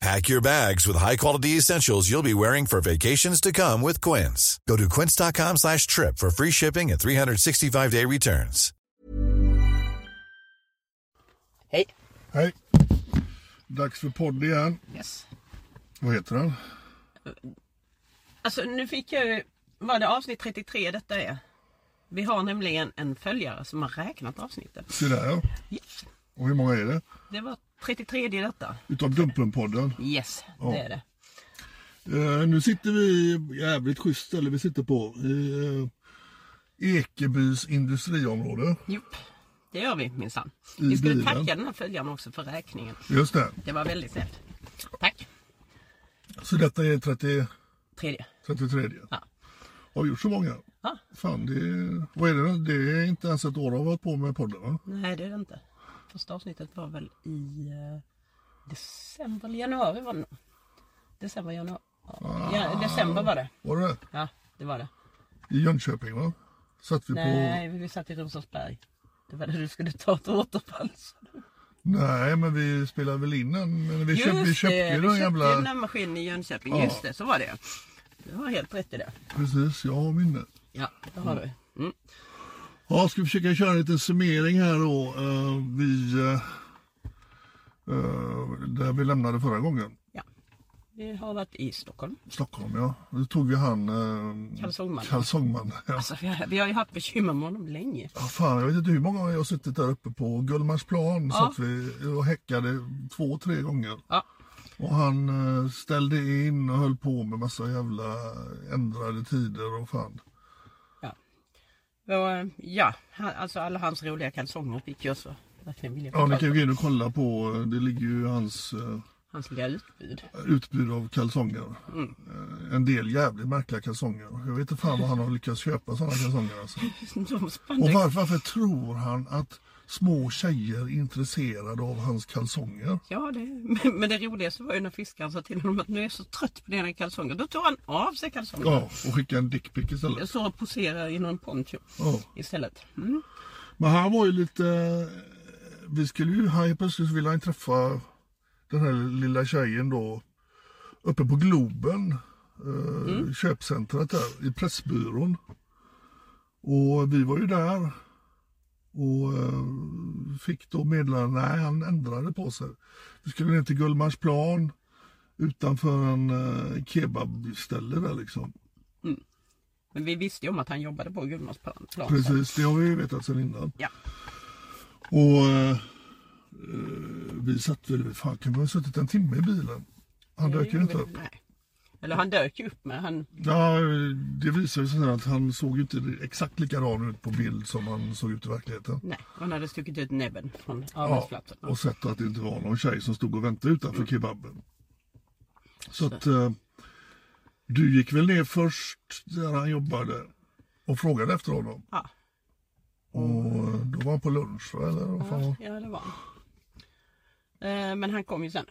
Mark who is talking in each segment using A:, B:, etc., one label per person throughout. A: Pack your bags with high-quality essentials you'll be wearing for vacations to come with Quince. Go to quince.com slash trip for free shipping and 365-day returns.
B: Hej!
C: Hej. Dags för podd igen.
B: Yes.
C: Vad heter den?
B: Alltså nu fick jag ju, var det avsnitt 33 detta är? Vi har nämligen en följare som har räknat avsnitten.
C: Se där ja.
B: Yes.
C: Och hur många är det?
B: Det var 33 i detta.
C: Utav Dumpen-podden.
B: Yes, det är det.
C: Eh, nu sitter vi i jävligt schysst ställe vi sitter på. I eh, Ekebys industriområde.
B: Jopp, det gör vi minsann.
C: I
B: Vi skulle
C: bilen.
B: tacka den här följaren också för räkningen.
C: Just det.
B: Det var väldigt snällt. Tack!
C: Så detta är 30,
B: Tredje.
C: 33.
B: Ja.
C: Har vi gjort så många?
B: Ja.
C: Fan, det är, vad är det då? Det är inte ens ett år har varit på med podden va?
B: Nej det är det inte. Första avsnittet var väl i eh, december eller januari var det nog. December, januari. Ja, december var det.
C: Var det det?
B: Ja, det var det.
C: I Jönköping va? Satt vi på...
B: Nej, vi satt i Rosersberg. Det var det du skulle ta ett återfall. sa du.
C: Nej, men vi spelade väl in den. Men vi, köpt, vi
B: Just
C: köpte
B: det,
C: ju
B: vi
C: den
B: köpte
C: jävla...
B: ju den här maskinen i Jönköping.
C: Ja.
B: Just det, så var det Du har helt rätt i det.
C: Precis, jag har minnet.
B: Ja, det har du. Mm.
C: Ja, ska vi försöka köra en liten summering här då. eh, vi, eh, eh, där vi lämnade förra gången.
B: Ja. Vi har varit i Stockholm.
C: Stockholm ja. Då tog vi han uh,
B: Kalsongmannen.
C: Kalsongman. Ja.
B: Alltså, vi, har, vi har ju haft bekymmer med honom länge.
C: Ja, fan, jag vet inte hur många gånger jag har suttit där uppe på Gullmarsplan.
B: Ja.
C: Satt vi och häckade två, tre gånger.
B: Ja,
C: Och han eh, ställde in och höll på med massa jävla ändrade tider och fan.
B: ja. Och, ja han, alltså alla hans roliga kalsonger fick jag så verkligen vilja
C: Ja, ni kan
B: betala.
C: ju gå in och kolla på, eh, det ligger ju hans eh,
B: Hans lilla utbud.
C: utbud av kalsonger. Eh, En del jävligt märkliga kalsonger. Jag vet inte fan vad han har lyckats köpa sådana kalsonger alltså.
B: De
C: Och
B: spandex.
C: varför, varför tror han att små tjejer är intresserade av hans kalsonger?
B: Ja, det, men, men det roligaste var ju när fiskaren sa till honom att nu är jag så trött på dina kalsonger. Då tog han av sig kalsongerna.
C: Ja, och skicka en dickpic
B: Jag
C: istället.
B: står och poserar i någon poncho
C: Ja.
B: istället. Mm.
C: Men han var ju lite... eh, Vi skulle ju... Han helt plötsligt ville han träffa den här lilla tjejen då uppe på Globen. Eh, Köpcentret där, i Pressbyrån. Och vi var ju där. Och eh, fick då meddelande, nej han ändrade på sig. Vi skulle ner till Gullmarsplan utanför en eh, kebabställe där liksom.
B: Men vi visste ju om att han jobbade på Gunnars plan. plan, så-
C: Precis, det har vi ju vetat sedan innan.
B: Ja.
C: Och eh, eh, vi satt väl, fan kan vi ha suttit en timme i bilen? Han dök ju inte upp.
B: Nej. Eller han dök ju upp men han...
C: Ja, det visar ju sig sen att han såg ju inte exakt likadan ut på bild som han såg ut i verkligheten.
B: Nej, han hade stuckit ut näbben från
C: Ja,
B: arbetsplatsen.
C: och sett att det inte var någon tjej som stod och väntade utanför kebaben. Så att eh, du gick väl ner först där han jobbade och frågade efter honom.
B: Ja,
C: Och eh, då var han på lunch va, eller vad fan var-
B: ja, det var han. Eh, Men han kom ju sen.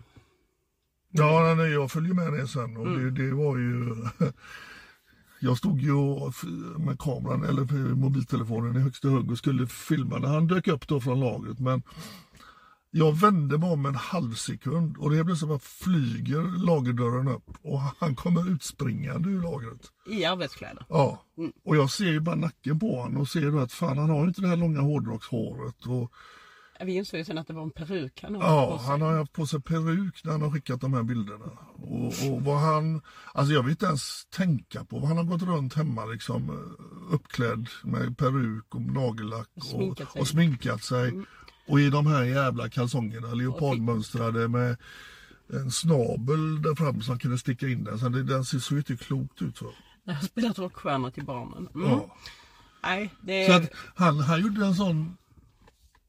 C: Ja, nej, nej, jag följer med det sen och det, det var ju Jag stod ju och f- med kameran eller mobiltelefonen i högsta hugg och skulle filma när han dök upp då från lagret. Men jag vände mig om en halv sekund och det är som att flyger lagerdörren upp och han kommer utspringande ur lagret.
B: I arbetskläder.
C: Ja, och jag ser ju bara nacken på honom och ser då att fan han har ju inte det här långa hårdrockshåret. Och,
B: Vi insåg ju sen att det var en peruk han hade
C: Ja,
B: på sig.
C: han har ju haft på sig peruk när han har skickat de här bilderna. Och, och vad han, alltså jag vill inte ens tänka på vad han har gått runt hemma liksom eh, uppklädd med peruk och nagellack och
B: Sminkat sig. Mm.
C: och, sminkat sig. Och i de här jävla kalsongerna, leopardmönstrade med en snabel där fram som kunde sticka in den. Så det, den ser- såg ju inte klokt ut. Va?
B: När han spelat rockstjärnor till barnen. Mm.
C: Ja.
B: Nej, det...
C: Så att han, han gjorde en sån...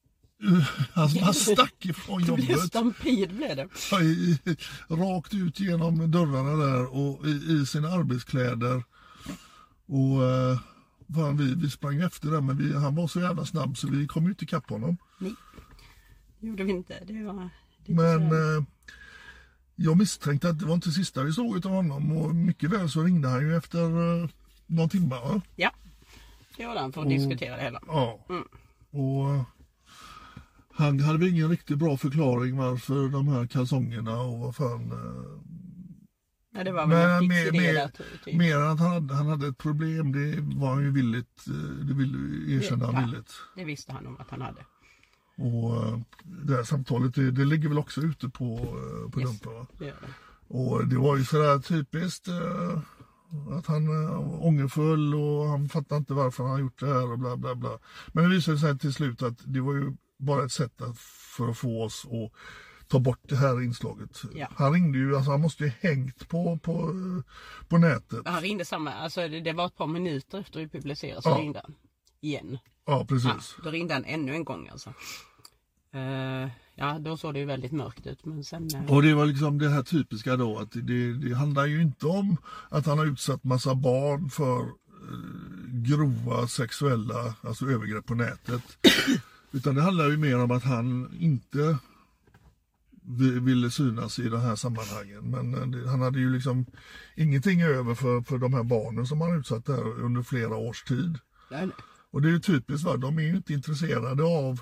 C: Han, han stack ifrån
B: det blev
C: jobbet.
B: stampid blev det.
C: Ja, i, i, rakt ut genom dörrarna där och i, i sina arbetskläder. Och eh, fan, vi, vi sprang efter där men vi, han var så jävla snabb så vi kom ju inte ikapp honom.
B: Det gjorde vi inte. Det var... Det
C: Men eh, jag misstänkte att det var inte sista vi såg utav honom och mycket väl så ringde han ju efter eh, någon timme. Va?
B: Ja, det gjorde han för
C: mm.
B: att diskutera det hela.
C: Ja. Och eh, han hade väl ingen riktigt bra förklaring varför de här kalsongerna och vad fan eh,
B: Nej, det var väl
C: Men eh,
B: något
C: mer,
B: Dixie
C: mer,
B: där, ty- typ.
C: mer än att han hade, han hade ett problem, det var han ju villigt, eh, det vill, erkände han
B: Ja.
C: villigt.
B: Det visste han om att han hade.
C: Och eh, det här samtalet, det, det ligger väl också ute på, eh, på
B: Yes.
C: Dumpen va?
B: Det gör det.
C: Och det var ju sådär typiskt eh, att han eh, ångerfull och han fattade inte varför han gjort det här och bla bla bla. Men det visade sig till slut att det var ju bara ett sätt att, för att få oss att ta bort det här inslaget.
B: Ja.
C: Han ringde ju, alltså han måste ju hängt på, på, eh, på nätet.
B: Han ringde samma, alltså det, det var ett par minuter efter vi publicerade så
C: Ja.
B: ringde han. Igen.
C: Ja,
B: Ja,
C: precis.
B: då ringde han ännu en gång alltså. Eh, ja, då såg det ju väldigt mörkt ut men sen... eh,
C: Och det var liksom det här typiska då att det, det handlar ju inte om att han har utsatt massa barn för eh, grova sexuella alltså övergrepp på nätet. Utan det handlar ju mer om att han inte vi- ville synas i de här sammanhangen. Men eh, det, han hade ju liksom ingenting över för, för de här barnen som han utsatt där under flera års tid.
B: nej, nej.
C: Och det är ju typiskt, va? de är ju inte intresserade av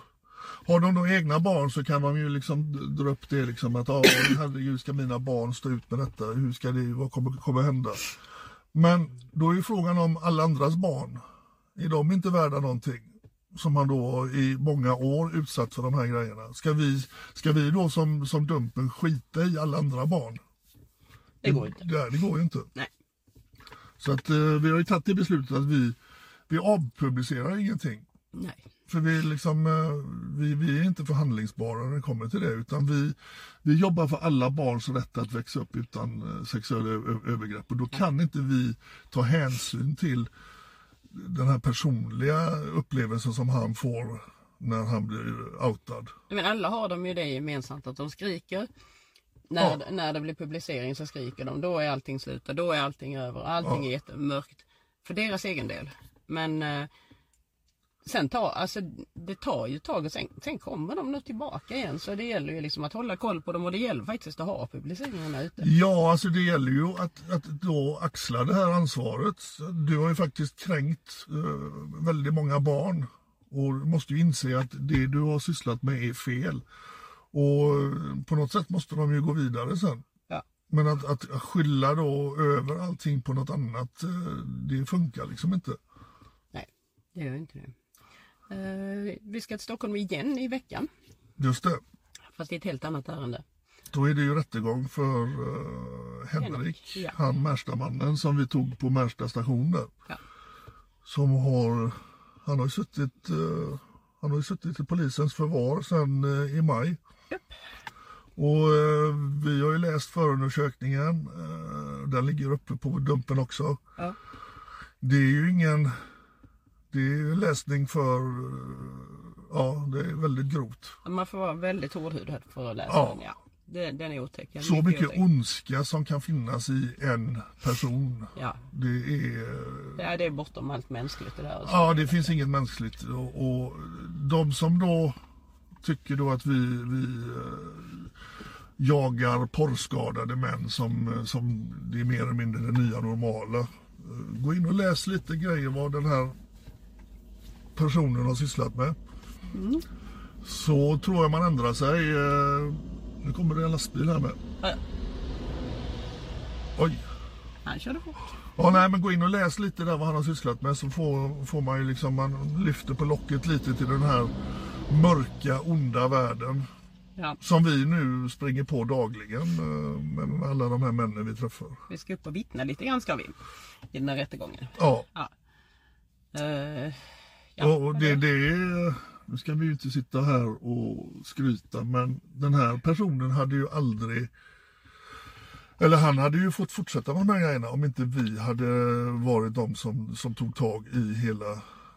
C: har de då egna barn så kan man ju liksom d- dra upp det liksom att ah, herregud ska mina barn stå ut med detta, hur ska det, vad kommer, kommer hända? Men då är ju frågan om alla andras barn, är de inte värda någonting? Som han då i många år utsatt för de här grejerna. Ska vi, ska vi då som, som Dumpen skita i alla andra barn?
B: det går inte.
C: Det, det går ju inte.
B: Nej.
C: Så att eh, vi har ju tagit det beslutet att vi, vi avpublicerar ingenting.
B: Nej.
C: För vi, är liksom, eh, vi, vi är inte förhandlingsbara när det kommer till det. Utan vi, vi jobbar för alla barns rätt att växa upp utan eh, sexuella ö- ö- övergrepp. Och då kan inte vi ta hänsyn till den här personliga upplevelsen som han får när han blir outad.
B: Men alla har de ju det gemensamt att de skriker. När,
C: Ja.
B: när det blir publicering så skriker de. Då är allting slut och då är allting över. Allting
C: Ja.
B: är jättemörkt. För deras egen del. Men eh, sen tar, alltså, det tar ju ett tag och sen, sen kommer de nog tillbaka igen. Så det gäller ju liksom att hålla koll på dem och det gäller faktiskt att ha publiceringarna ute.
C: Ja, alltså det gäller ju att, att då axla det här ansvaret. Du har ju faktiskt kränkt eh, väldigt många barn och du måste ju inse att det du har sysslat med är fel. Och eh, på något sätt måste de ju gå vidare sen.
B: Ja.
C: Men att, att skylla då över allting på något annat, eh, det funkar liksom inte.
B: Nej, det gör inte det. Eh, vi ska till Stockholm igen i veckan.
C: Just det,
B: Fast i ett helt annat ärende.
C: då är det ju rättegång för eh, Henrik,
B: Henrik, ja.
C: han Märstamannen som vi tog på Märsta station där.
B: Ja.
C: som har, han har ju suttit, eh, han har ju suttit i polisens förvar sedan eh, i maj. Och eh, vi har ju läst förundersökningen, eh, den ligger uppe på dumpen också.
B: Ja.
C: Det är ju ingen, det är ju läsning för, eh, ja det är väldigt grovt.
B: Man får vara väldigt hårdhudad för att läsa
C: Ja.
B: den. Ja. Den, den är otäck. Den är
C: Så mycket
B: otäck.
C: ondska som kan finnas i en person.
B: Ja,
C: Det är
B: det är, det är bortom allt mänskligt det där. Alltså.
C: Ja, det finns inget mänskligt. Och, och de som då tycker då att vi, vi eh, jagar porrskadade män som, eh, som det är mer eller mindre det nya normala. Gå in och läs lite grejer vad den här personen har sysslat med. Så tror jag man ändrar sig. Eh, Nu kommer det en lastbil här med.
B: Ja, ja.
C: Oj.
B: Han körde fort.
C: Ja, nej, men gå in och läs lite där vad han har sysslat med så får, får man ju liksom, man lyfter på locket lite till den här mörka, onda världen.
B: Ja,
C: Som vi nu springer på dagligen eh, med alla de här männen vi träffar.
B: vi ska upp och vittna lite grann ska vi. I den här rättegången.
C: Ja,
B: Ja. Eh, ja.
C: och och det, det är... Nu ska vi ju inte sitta här och skryta men den här personen hade ju aldrig... Eller han hade ju fått fortsätta med de här grejerna om inte vi hade varit de som, som tog tag i hela...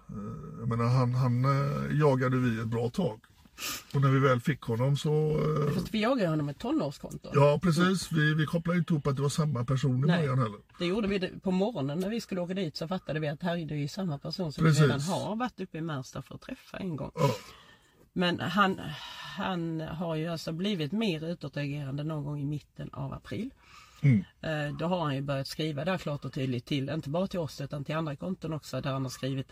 C: eh, Jag menar han, han eh, jagade vi ett bra tag. Och när vi väl fick honom så... eh,
B: Fast vi jagade honom med tonårskonto.
C: Ja precis, vi, vi kopplade ju inte ihop att det var samma person i
B: Nej.
C: början heller.
B: Det gjorde vi det- på morgonen när vi skulle åka dit så fattade vi att här är det ju samma person som
C: Precis.
B: vi redan har varit uppe i Märsta för att träffa en gång.
C: Ja.
B: Men han, han har ju alltså blivit mer utåtagerande någon gång i mitten av april.
C: Mm.
B: Eh, Då har han ju börjat skriva där klart och tydligt till, inte bara till oss utan till andra konton också där han har skrivit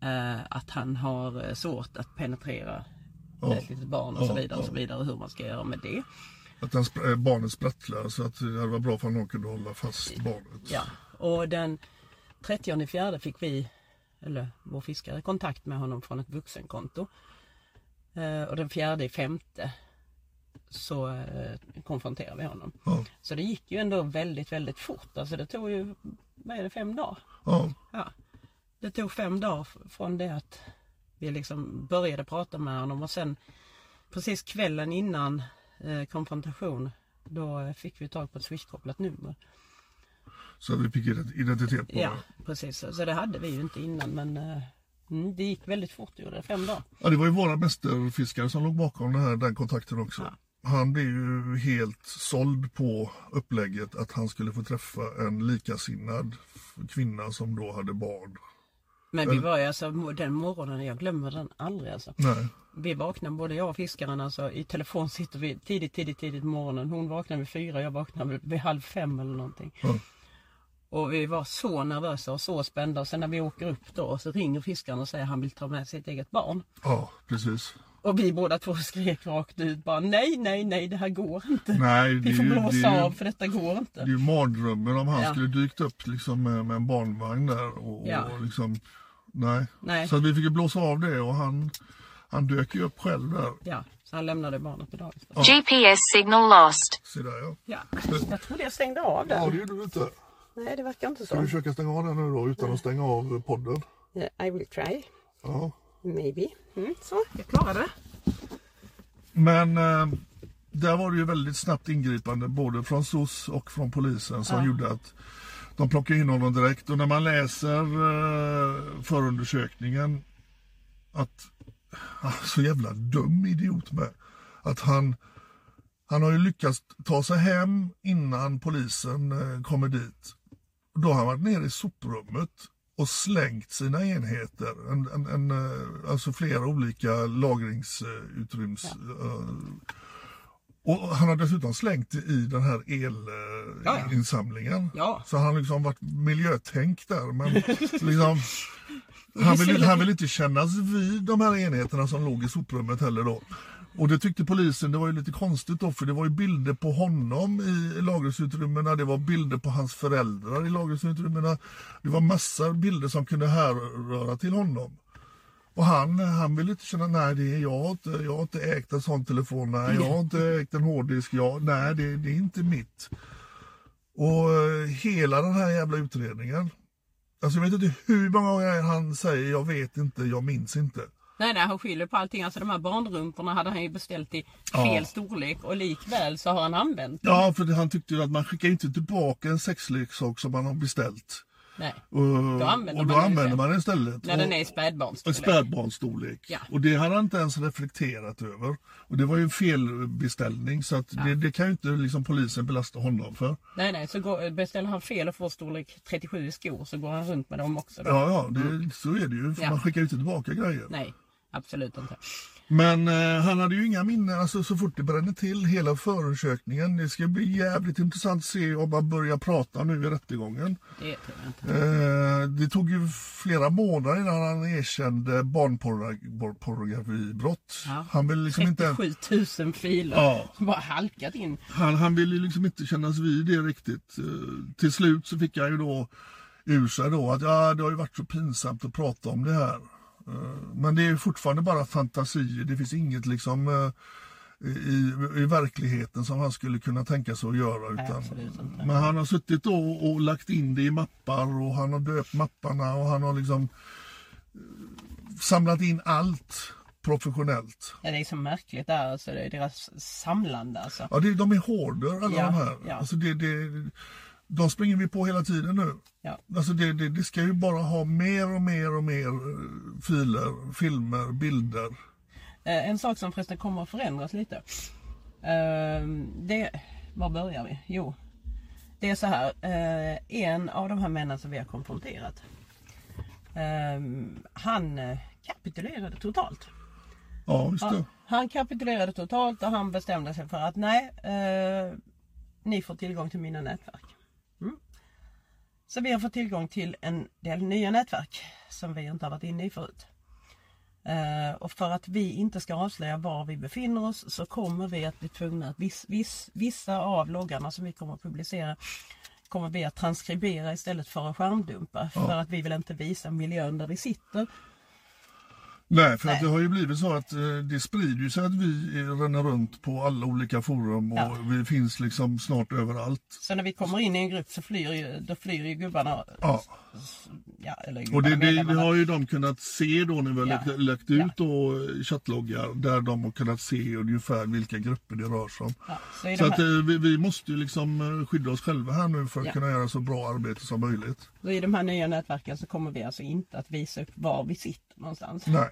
B: eh, att han har eh, svårt att penetrera
C: Ja.
B: ett litet barn och så
C: Ja,
B: vidare och
C: ja.
B: så vidare och hur man ska göra med det.
C: Att den, spr- eh, barnet sprattlar så att det var bra för någon kunde hålla fast barnet.
B: Ja, och den 30 fjärde fick vi, eller vår fiskare, kontakt med honom från ett vuxenkonto. Eh, och den fjärde i femte så eh, konfronterade vi honom.
C: Ja.
B: Så det gick ju ändå väldigt, väldigt fort. Alltså det tog ju, vad är det, fem dagar?
C: Ja.
B: Ja. Det tog fem dagar f- från det att vi liksom började prata med honom och sen precis kvällen innan eh, konfrontation då eh, fick vi tag på ett swishkopplat nummer.
C: Så att vi fick ident- identitet på
B: Ja,
C: det.
B: precis. Så det hade vi ju inte innan men eh, mm, det gick väldigt fort, det gjorde det. Fem dagar.
C: Ja, det var ju våra mästerfiskare som låg bakom den, här, den kontakten också. Han blev ju helt såld på upplägget att han skulle få träffa en likasinnad f- kvinna som då hade barn.
B: Men
C: Mm.
B: vi var ju alltså den morgonen, jag glömmer den aldrig alltså.
C: Nej,
B: Vi vaknade, både jag och fiskaren, alltså, i telefon sitter vi tidigt, tidigt, tidigt på morgonen. Hon vaknar vid fyra, jag vaknar vid, vid halv fem eller någonting.
C: Ja.
B: Och vi var så nervösa och så spända och sen när vi åker upp då så ringer fiskaren och säger att han vill ta med sitt eget barn.
C: ja precis.
B: Och vi båda två skrek rakt ut bara nej, nej, nej, det här går inte.
C: Nej, det
B: Vi
C: är
B: får
C: ju, det
B: blåsa
C: är
B: av
C: ju,
B: för detta går inte.
C: det är ju mardrömmen om han
B: Ja.
C: skulle dykt upp liksom med, med en barnvagn där och,
B: Ja.
C: och liksom, nej.
B: Nej.
C: Så att vi fick ju blåsa av det och han, han dök ju upp själv där.
B: Ja, så han lämnade barnet på dagis. då.
D: GPS signal lost.
C: Se där ja.
B: Ja, jag trodde jag stängde av den.
C: Mm. Ja, det gjorde du inte.
B: Nej, det verkar inte
C: Ska vi
B: så.
C: försöka stänga av den nu då utan att stänga av podden?
B: Eh, I will try,
C: Ja.
B: maybe. Mm, så, jag klarade det.
C: Men eh, där var det ju väldigt snabbt ingripande både från SOS och från polisen som gjorde att de plockade in honom direkt. Och när man läser eh, förundersökningen att ah, så jävla dum idiot med. Att han, han har ju lyckats ta sig hem innan polisen eh, kommer dit. Då har han varit nere i soprummet och slängt sina enheter, en, en, en, eh, alltså flera olika lagringsutrymms... Och han har dessutom slängt i den här eh,
B: Ja, ja.
C: elinsamlingen.
B: Ja.
C: Så han har liksom varit miljötänk där. Men liksom, han, vill, inte- han vill inte kännas vid de här enheterna som låg i soprummet heller då. Och det tyckte polisen, det var ju lite konstigt då för det var ju bilder på honom i lagringsutrymmena, det var bilder på hans föräldrar i lagringsutrymmena. Det var massor bilder som kunde härröra till honom. Och han, han ville inte känna, nej det är jag har inte, jag har inte ägt en sån telefon, nej jag har inte ägt en hårddisk, jag, nej det, det är inte mitt. Och eh, hela den här jävla utredningen. Alltså jag vet inte hur många gånger han säger jag vet inte, jag minns inte.
B: Nej, nej, han skyller på allting. Alltså de här barnrumporna hade han ju beställt i fel
C: Ja.
B: storlek och likväl så har han använt.
C: Ja, för det, han tyckte ju att man skickar ju inte tillbaka en sexleksak som man har beställt.
B: Nej,
C: Och då
B: använder
C: och då
B: man den
C: använder
B: istället.
C: man den istället.
B: när
C: och,
B: den är i
C: och
B: spädbarnsstorlek.
C: spädbarnsstorlek.
B: Ja.
C: Och det hade han inte ens reflekterat över. Och det var ju en felbeställning så att det, det kan ju inte liksom polisen belasta honom för.
B: Nej, nej, så går, beställer han fel och får storlek 37 i skor så går han runt med dem också. Då.
C: Ja, ja, det, så är det ju.
B: Mm.
C: För
B: Ja.
C: Man skickar ju inte tillbaka grejer.
B: Nej. absolut inte.
C: Men eh, han hade ju inga minnen alltså, så fort det brände till hela förundersökningen. Det ska bli jävligt intressant att se om man börjar prata nu i rättegången.
B: Det tror jag inte.
C: Eh, det tog ju flera månader innan han erkände barnpornografibrott.
B: Ja.
C: Han ville liksom inte...
B: 37 000 filer.
C: Ja.
B: Bara halkat in.
C: Han, han ville ju liksom inte kännas vid det riktigt. Eh, till slut så fick han ju då ur sig då att ja, det har ju varit så pinsamt att prata om det här. Eh, men det är ju fortfarande bara fantasier. Det finns inget liksom eh, i, i verkligheten som han skulle kunna tänka sig att göra.
B: Nej,
C: Utan,
B: absolut inte.
C: men han har suttit då och, och lagt in det i mappar och han har döpt mapparna och han har liksom eh, samlat in allt professionellt.
B: Ja, det är så märkligt där alltså. Det är deras samlande alltså.
C: Ja, det, de är horder alla
B: Ja,
C: de här.
B: ja.
C: Alltså det, det, de springer vi på hela tiden nu.
B: Ja.
C: Alltså det, det, det ska ju bara ha mer och mer och mer eh, filer, filmer, bilder.
B: Eh, en sak som förresten kommer att förändras lite. Eh, det, var börjar vi? Jo, det är så här. Eh, en av de här männen som vi har konfronterat. Eh, han eh, kapitulerade totalt.
C: Ja, just det.
B: Han kapitulerade totalt och han bestämde sig för att nej, eh, ni får tillgång till mina nätverk. Mm. Så vi har fått tillgång till en del nya nätverk som vi inte har varit inne i förut. Eh, och för att vi inte ska avslöja var vi befinner oss så kommer vi att bli tvungna att viss, viss, vissa av loggarna som vi kommer att publicera kommer vi att transkribera istället för att skärmdumpa. För att vi vill inte visa miljön där vi sitter.
C: Nej, för Att
B: Nej.
C: det har ju blivit så att eh, det sprider ju sig att vi eh, ränner runt på alla olika forum och
B: Ja.
C: vi finns liksom snart överallt.
B: Så när vi kommer in i en grupp så flyr ju, då flyr ju gubbarna
C: Ja.
B: Ja, eller
C: Och det, det, det
B: medlemmarna.
C: har ju de kunnat se då när vi har
B: Ja.
C: lagt, lagt ut då eh, chattloggar där de har kunnat se ungefär vilka grupper det rör sig om.
B: ja, så i
C: Så
B: de
C: att,
B: här,
C: eh, vi, vi måste ju liksom eh, skydda oss själva här nu för att
B: Ja.
C: kunna göra så bra arbete som möjligt.
B: så I de här nya nätverken så kommer vi alltså inte att visa upp var vi sitter någonstans.
C: Nej.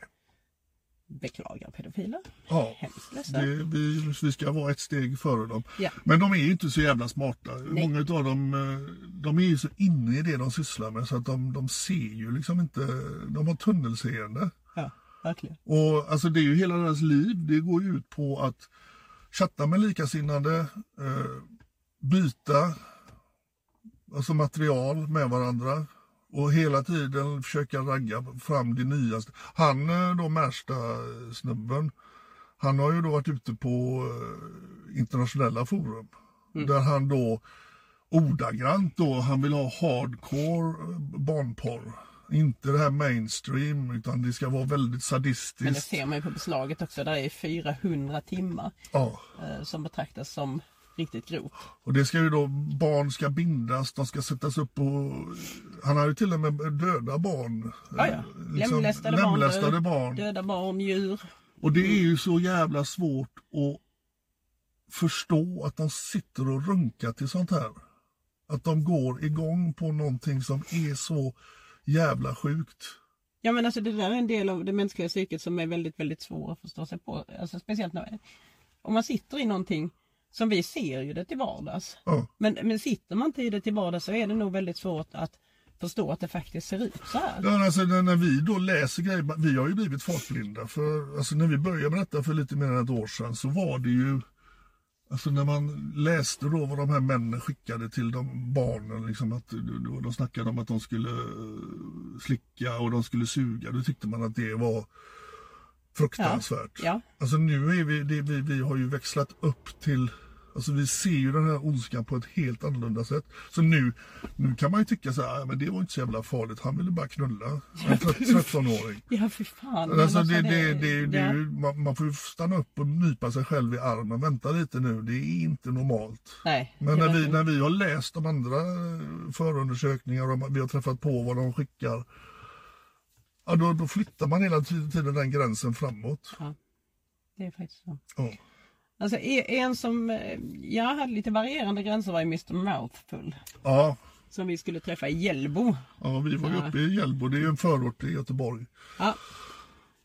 B: Beklagar pedofiler.
C: Ja.
B: Hemskt ledsen.
C: Det, vi, vi ska vara ett steg före dem.
B: Ja.
C: Men de är ju inte så jävla smarta. Många av dem eh, de är ju så inne i det de sysslar med så att de, de ser ju liksom inte. De har tunnelseende.
B: Ja, verkligen.
C: Och alltså det är ju hela deras liv. Det går ju ut på att chatta med likasinnade, eh, byta alltså material med varandra och hela tiden försöka ragga fram det nyaste. Han eh, då Märsta eh, snubben, han har ju då varit ute på eh, internationella forum där han då ordagrant då, han vill ha hardcore eh, barnporr. Inte det här mainstream utan det ska vara väldigt
B: Men det
C: sadistiskt.
B: ser man ju på beslaget också. Där är 400 timmar
C: Ja.
B: eh, som betraktas som riktigt grovt.
C: Och det ska ju då, barn ska bindas, de ska sättas upp och... Han har ju till och med döda barn.
B: Ja, ja.
C: Eh, liksom,
B: Lemlästade,
C: lemlästade
B: barn, Mm.
C: barn.
B: döda barn, djur.
C: Och det är ju så jävla svårt att förstå att de sitter och runkar till sånt här. Att de går igång på någonting som är så jävla sjukt.
B: Ja men alltså det där är en del av det mänskliga psyket som är väldigt, väldigt svår att förstå sig på. Alltså speciellt när, om man sitter i någonting som vi ser ju det till vardags.
C: Ja.
B: Men, men sitter man inte i det till vardags så är det nog väldigt svårt att förstå att det faktiskt ser ut så här.
C: Ja, alltså, när, när vi då läser grejer, vi har ju blivit fartblinda. För, alltså, när vi började med detta för lite mer än ett år sedan så var det ju, alltså när man läste då vad de här männen skickade till de barnen, liksom, att, då, då snackade om att de skulle eh, slicka och de skulle suga, då tyckte man att det var fruktansvärt.
B: Ja,
C: Alltså nu är vi, det, vi, vi har ju växlat upp till, alltså vi ser ju den här ondskan på ett helt annorlunda sätt. Så nu, nu kan man ju tycka så här, "Ah, men det var inte så jävla farligt, han ville bara knulla en 13-åring.
B: ja fy fan. men
C: Alltså det, det, det, det,
B: ja.
C: är ju- man, man får ju stanna upp och nypa sig själv i armen, vänta lite nu, det är inte normalt.
B: Nej,
C: Men
B: det
C: när
B: var-
C: vi, när vi har läst de andra eh, förundersökningar och vi har träffat på vad de skickar, ja, då, då flyttar man hela tiden den gränsen framåt.
B: ja, det är faktiskt så.
C: Ja.
B: Alltså e- en som, eh, jag hade lite varierande gränser var ju Mr Mouthful.
C: Ja,
B: Som vi skulle träffa i Hjällbo.
C: Ja, vi var ju uppe i Hjällbo, det är ju en förort till Göteborg.
B: Ja,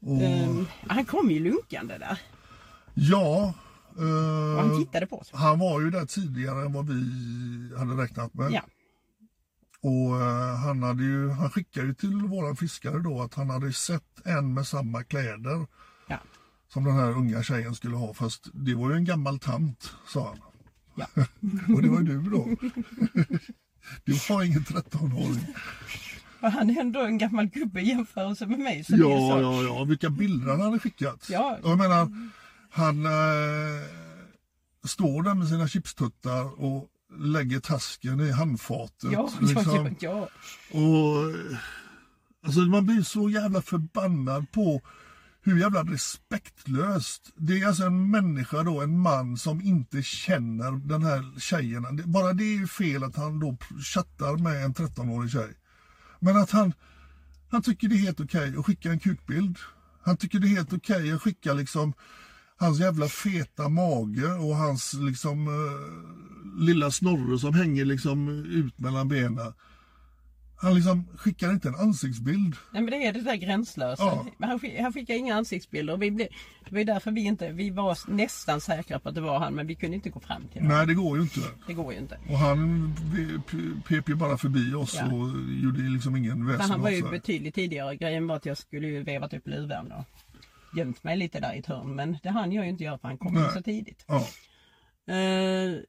C: Och,
B: ehm, han kom ju lunkande där.
C: ja, eh,
B: Och han tittade på oss.
C: han var ju där tidigare än vad vi hade räknat med.
B: Ja.
C: Och eh, han, hade ju, han skickade ju till våran fiskare då att han hade sett en med samma kläder
E: Ja.
C: som den här unga tjejen skulle ha fast det var ju en gammal tant sa han.
E: Ja.
C: Och det var ju du då. Du var ingen 13-åring.
B: Och han är ändå en gammal gubbe i jämförelse med mig. Så det är
C: Ja,
B: så.
C: ja, ja. Vilka bilder han hade skickat.
B: Ja.
C: Jag menar, han eh, står där med sina chipstuttar och lägger tasken i
B: Ja,
C: handfatet.
B: ja, ja,
C: liksom.
B: ja.
C: Och, eh, alltså man blir så jävla förbannad på hur jävla respektlöst. Det är alltså en människa då, en man som inte känner den här tjejen. Det- Bara det är ju fel att han då pr- chattar med en 13-årig tjej. Men att han, han tycker det är helt okej att skicka en kukbild. Han tycker det är helt okej att skicka liksom hans jävla feta mage och hans liksom eh, lilla snorre som hänger liksom ut mellan benen. Han liksom skickar inte en ansiktsbild.
B: Nej, men det är det där gränslösa.
C: Ja.
B: Men Han, skick, han skickade inga ansiktsbilder. Och vi blev, det var ju därför vi inte, vi var nästan säkra på att det var han men vi kunde inte gå fram till honom.
C: Nej, det går ju inte.
B: Det går ju inte.
C: Och han pe- pe- pep ju bara förbi oss
B: Ja.
C: och gjorde ju liksom ingen
B: Men
C: väsen
B: han var
C: av
B: ju
C: sig.
B: betydligt tidigare. Grejen var att jag skulle ju vevat upp luvan och gömt mig lite där i ett hörn. Men det hann jag ju inte göra för han kom ju
C: Nej.
B: så tidigt.
C: Ja,
B: Eh,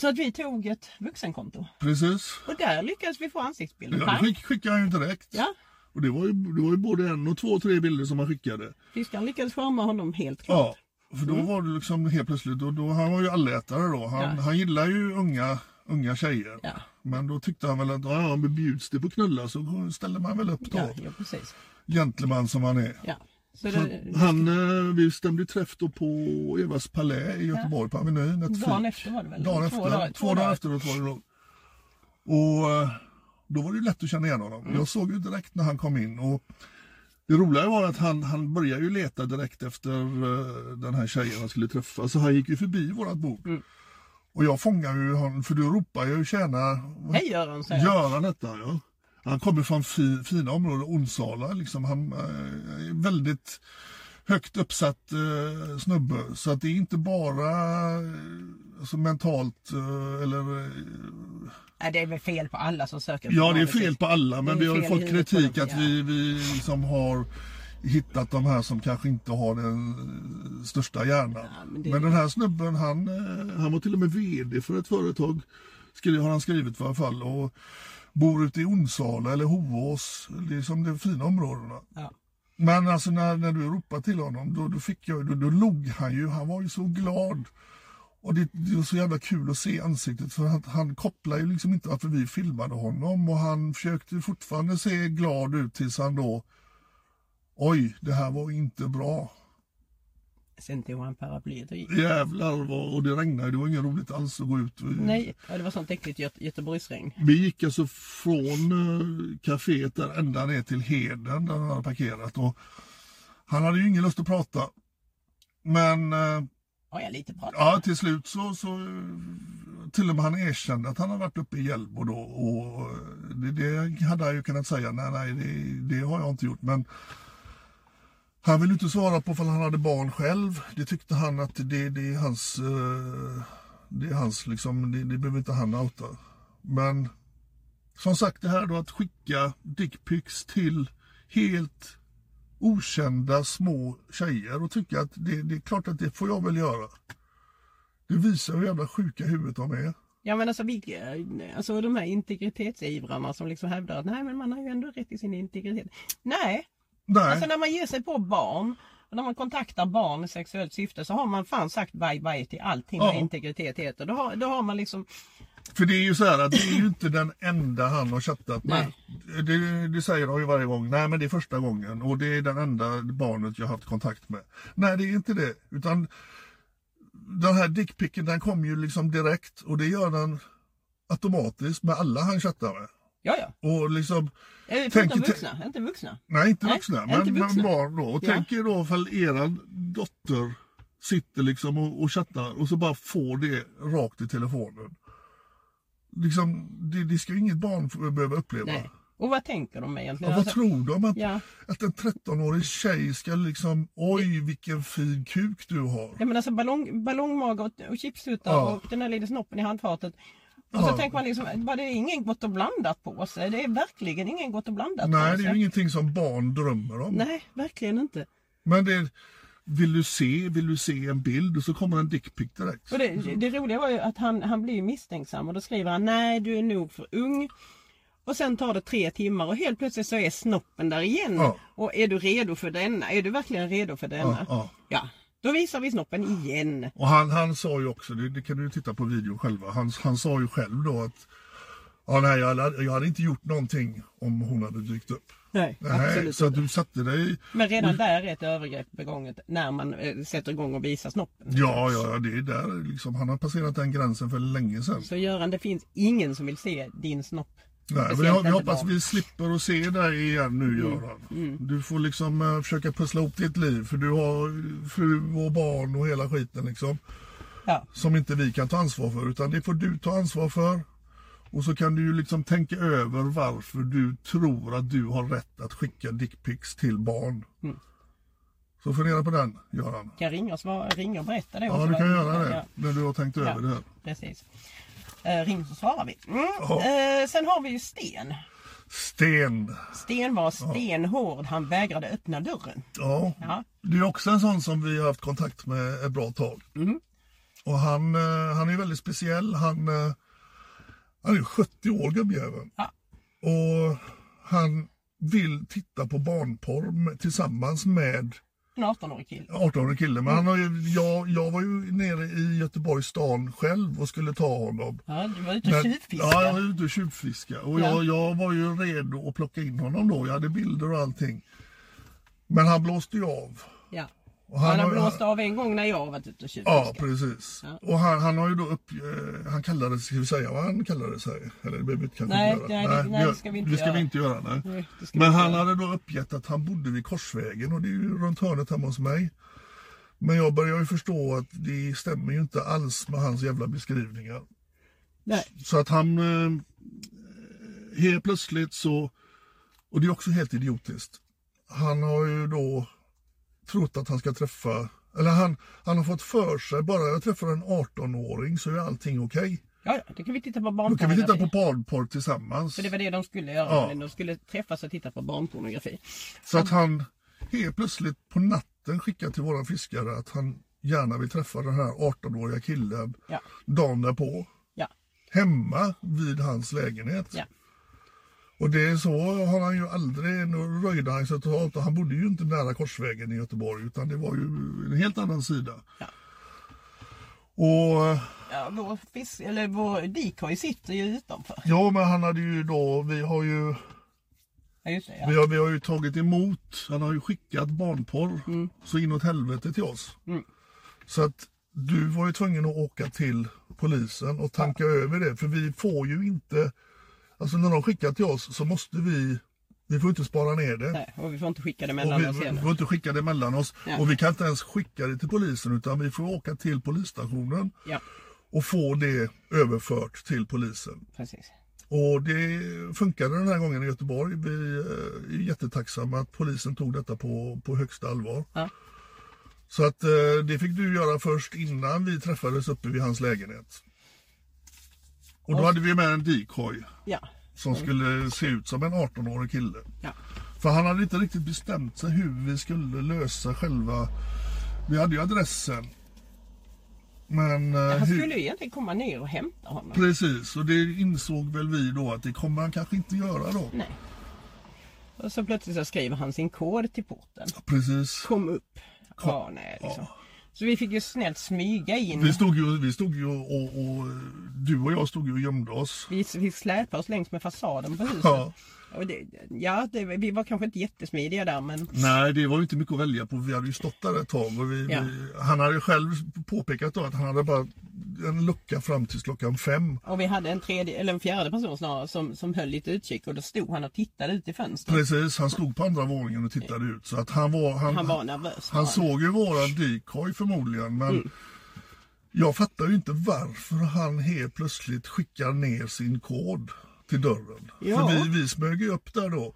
B: så att vi tog ett vuxenkonto.
C: precis.
B: Och där lyckades vi få ansiktsbilder.
C: Ja, det
B: Tack.
C: skick, skickade han ju direkt.
B: Ja,
C: Och det var, ju, det var ju både en och två och tre bilder som han skickade.
B: fiskaren lyckades charma honom helt klart.
C: Ja, för då var det liksom helt plötsligt, då, då, han var ju allätare då. Han,
B: Mm. Ja.
C: han gillar ju unga, unga tjejer.
B: Ja.
C: Men då tyckte han väl att, ja, ja, men bjuds det på knulla så ställer man väl upp då.
B: Ja, ja precis.
C: Gentleman som han är.
B: Ja. Så
C: Så
B: det,
C: Han, eh, vi stämde ju träff då på Evas palä i Göteborg på Avenyn. Ett
B: dagen
C: fik.
B: efter var det väl?
C: Dagen efter, två dagar, två dagar efteråt var det nog. Och eh, då var det ju lätt att känna igen honom. Jag såg ju direkt när han kom in. Och det roliga var att han, han började ju leta direkt efter eh, den här tjejen han skulle träffa. Så han gick ju förbi vårat bord. Och jag fångade ju honom, för du ropar ju tjena.
B: Hej Göran, säger jag.
C: Göran hette han ja. Han kommer från fi, fina områden, Onsala. Liksom. Han eh, är väldigt högt uppsatt eh, snubbe. Så att det är inte bara eh, alltså, mentalt eh, eller... eh,
B: Nej, det är väl fel på alla som söker.
C: Ja, det är fel på alla men
B: Det är
C: vi har ju
B: fel i
C: fått
B: huvudet på
C: kritik
B: dem,
C: att
B: ja.
C: vi, vi liksom har hittat de här som kanske inte har den eh, största hjärnan.
B: Ja, men
C: men,
B: det-
C: den här snubben han, eh, han var till och med VD för ett företag skri- har han skrivit i alla fall. Och, bor ute i Onsala eller Hovås, liksom de fina områdena.
B: Ja.
C: Men alltså när, när du ropade till honom då, då, fick jag, då, då log han ju, han var ju så glad. Och det, det var så jävla kul att se ansiktet för han, han kopplade ju liksom inte varför vi filmade honom och han försökte fortfarande se glad ut tills han då Oj, det här var inte bra.
B: Sen tog han paraplyet och gick.
C: Jävlar vad, och det regnade, det var inget roligt alls att gå ut.
B: Nej, ja, det var sånt äckligt Göte- Göteborgsregn.
C: Vi gick alltså från eh, kaféet där ända ner till Heden där han hade parkerat. Och han hade ju ingen lust att prata. Men eh,
B: Har jag lite pratat?
C: ja, till slut så, så eh, till och med han erkände att han hade varit uppe i Hjällbo då. Och eh, det, det hade han ju kunnat säga, nej nej det, det har jag inte gjort. Men han ville inte svara på om han hade barn själv. Det tyckte han att det, det är hans, eh, det är hans liksom, det, det behöver inte han outa. Men som sagt det här då att skicka dickpics till helt okända små tjejer och tycka att det, det är klart att det får jag väl göra. Det visar hur jävla sjuka huvudet de är.
B: Ja men alltså, vi, alltså de här integritetsivrarna som liksom hävdar att nej men man har ju ändå rätt till sin integritet. Nej,
C: Nej,
B: alltså när man ger sig på barn och när man kontaktar barn i sexuellt syfte så har man fan sagt bye bye till allting
C: Ja.
B: vad integritet heter. Då har, då har man liksom,
C: för det är ju så här att det är ju inte den enda han har chattat med.
B: Nej.
C: Det, det säger de ju varje gång. Nej men det är första gången och det är den enda barnet jag har haft kontakt med. Nej det är inte det. Utan den här dickpicken den kom ju liksom direkt och det gör den automatiskt med alla han chattar med.
B: ja ja.
C: Och liksom,
B: Eh,
C: Tänk
B: Förutom
C: inte-
B: vuxna, inte vuxna.
C: nej inte
B: Nej,
C: vuxna,
B: inte
C: men, men
B: vuxna.
C: barn då. Och
B: Ja.
C: tänk er då ifall eran dotter sitter liksom och, och chattar och så bara får det rakt i telefonen. Liksom, det, det ska ju inget barn få- behöva uppleva.
B: Nej. Och vad tänker de
C: Ja,
B: egentligen?
C: vad
B: Alltså,
C: tror de? Att,
B: ja.
C: att en 13-årig tjej ska liksom, oj vilken fin kuk du har.
B: Ja men alltså ballong, ballongmage och, och chipstuttar
C: Ja.
B: och den här lilla snoppen i handfatet. Och så
C: Ja.
B: tänker man liksom, var det är ingen gott och blandat på sig? Det är verkligen ingen gott och blandat
C: Nej,
B: på
C: det
B: sig.
C: är ju ingenting som barn drömmer om.
B: Nej, verkligen inte.
C: Men det är, vill du se, vill du se en bild och så kommer en dickpic direkt.
B: Och det, det roliga var ju att han, han blir misstänksam och då skriver han nej du är nog för ung. Och sen tar det tre timmar och helt plötsligt så är snoppen där igen.
C: Ja.
B: Och är du redo för denna? Är du verkligen redo för denna?
C: Ja, ja.
B: Ja, då visar vi snoppen igen.
C: Och han, han sa ju också, det, det kan du ju titta på videon själva, han, han sa ju själv då att ja, nej, jag, hade- jag hade inte gjort någonting om hon hade dykt upp.
B: Nej,
C: Nej,
B: absolut
C: så att
B: inte.
C: du satte dig...
B: Men redan där är ett övergrepp begånget när man eh, sätter igång och visar snoppen.
C: Ja, ja, ja, det är där liksom. Han har passerat den gränsen för länge sedan.
B: Så Göran, det finns ingen som vill se din snopp.
C: Nej, men
B: Speciellt
C: jag, vi
B: inte
C: hoppas
B: barn. Mm.
C: vi slipper att se dig igen nu Göran. Du får liksom eh, försöka pussla ihop ditt liv för du har eh, fru och barn och hela skiten liksom.
B: Ja.
C: Som inte vi kan ta ansvar för utan det får du ta ansvar för. Och så kan du ju liksom tänka över varför du tror att du har rätt att skicka dickpics till barn.
B: Mm.
C: Så fundera på den Göran.
B: Kan jag ringa och, svara, ringa och berätta det?
C: Ja
B: också,
C: du
B: va?
C: kan göra det
B: Ja.
C: när du har tänkt över det här.
B: Precis. Eh, ring så svarar vi. Mm.
C: Ja.
B: Eh, sen har vi ju Sten.
C: Sten.
B: Sten var stenhård. Han vägrade öppna dörren.
C: Ja.
B: Ja.
C: Det är också en sån som vi har haft kontakt med ett bra tag.
B: Mm.
C: Och han, eh, han är väldigt speciell. Han, eh, han är 70 år gubbjäveln.
B: Ja.
C: Och han vill titta på barnporr med, tillsammans med
B: En 18-årig kille.
C: 18-årig kille. Men han har ju, jag, jag var ju nere i Göteborgs stan själv och skulle ta honom.
B: Ja, du var ute och
C: Men- Ja, jag
B: tjuvfiskade.
C: var ute och tjuvfiska. Och
B: Ja.
C: jag, jag var ju redo att plocka in honom då. Jag hade bilder och allting. Men han blåste ju av.
B: Ja.
C: Och
B: Han har
C: har-
B: blåst av en gång när jag varit ute och
C: Ja,
B: tjuvfiskat.
C: precis.
B: Ja.
C: Och han, han har ju då upp... Eh, han kallade sig, ska vi säga vad han kallade sig? Eller det behöver vi kanske
B: Nej,
C: inte
B: nej,
C: göra.
B: det- nej,
C: vi-
B: det ska vi inte
C: det ska
B: göra.
C: vi inte göra. Nej.
B: Nej, det ska vi
C: Men
B: inte
C: han
B: göra.
C: hade då uppgett att han bodde vid Korsvägen och det är ju runt hörnet hemma hos mig. Men jag börjar ju förstå att det stämmer ju inte alls med hans jävla beskrivningar.
B: Nej.
C: Så att han... Eh, helt plötsligt så... Och det är också helt idiotiskt. Han har ju då trott att han ska träffa... Eller han, han har fått för sig, bara jag träffar en 18-åring så är allting okej.
B: Ja, ja, då kan vi titta på
C: Då kan vi
B: barnpornografi.
C: titta på barnporr tillsammans.
B: För det var det de skulle göra.
C: Ja.
B: Men de skulle träffas och titta på barnpornografi.
C: Så att han helt plötsligt på natten skickar till våra fiskare att han gärna vill träffa den här 18-åriga killen
B: Ja,
C: dagen därpå.
B: ja,
C: Hemma vid hans lägenhet.
B: ja.
C: Och det är så har han ju aldrig, nu röjde han sig totalt och han bodde ju inte nära Korsvägen i Göteborg utan det var ju en helt annan sida.
B: Ja.
C: Och
B: ja vår, fisk, eller vår decoy sitter ju utanför.
C: ja men han hade ju då, vi har ju,
B: Ja, just det.
C: vi
B: Ja.
C: har, vi har ju tagit emot, han har ju skickat barnporr
B: Mm.
C: så inåt helvete till oss. Så att du var ju tvungen att åka till polisen och tanka över det för vi får ju inte, alltså när de skickar till oss så måste vi, vi får inte spara ner det.
B: Nej, och vi får inte skicka det
C: Och
B: mellan
C: vi,
B: oss
C: vi
B: heller.
C: får inte skicka det mellan oss
B: Ja.
C: och vi kan inte ens skicka det till polisen utan vi får åka till polisstationen
B: Ja,
C: och få det överfört till polisen.
B: precis.
C: Och det funkade den här gången i Göteborg. Vi eh, är jättetacksamma att polisen tog detta på, på högsta allvar.
B: Ja.
C: Så att eh, det fick du göra först innan vi träffades uppe vid hans lägenhet. Och då hade vi med en decoy
B: Ja,
C: som skulle se ut som en 18-årig kille.
B: ja,
C: För han hade inte riktigt bestämt sig hur vi skulle lösa själva... Vi hade ju adressen. Men... eh,
B: Han
C: hur-
B: skulle ju egentligen komma ner och hämta honom.
C: Precis, och det insåg väl vi då att det kommer han kanske inte göra då.
B: Nej. Och så plötsligt så skriver han sin kod till porten.
C: Precis.
B: Kom upp. Ja, nej, liksom. Så vi fick ju snällt smyga in.
C: Vi stod ju, vi stod ju och, och... Du och jag stod ju och gömde oss.
B: Vi, vi släpade oss längs med fasaden på huset.
C: Ja.
B: Och det, ja det, vi var kanske inte jättesmidiga där men
C: Nej, det var ju inte mycket att välja på. Vi hade ju stått där ett tag. Och vi,
B: Ja.
C: vi, han hade ju själv påpekat då att han hade bara en lucka fram till klockan fem.
B: och vi hade en tredje eller en fjärde person snarare som, som höll lite utkik och då stod han och tittade ut i fönstret.
C: Precis, han stod på andra våningen och tittade ut. Så att han var...
B: Han var nervös.
C: Han
B: var
C: såg ju våran decoy förmodligen men
B: Mm.
C: jag fattar ju inte varför han helt plötsligt skickar ner sin kod till dörren.
B: Ja.
C: För vi, vi smög ju upp där då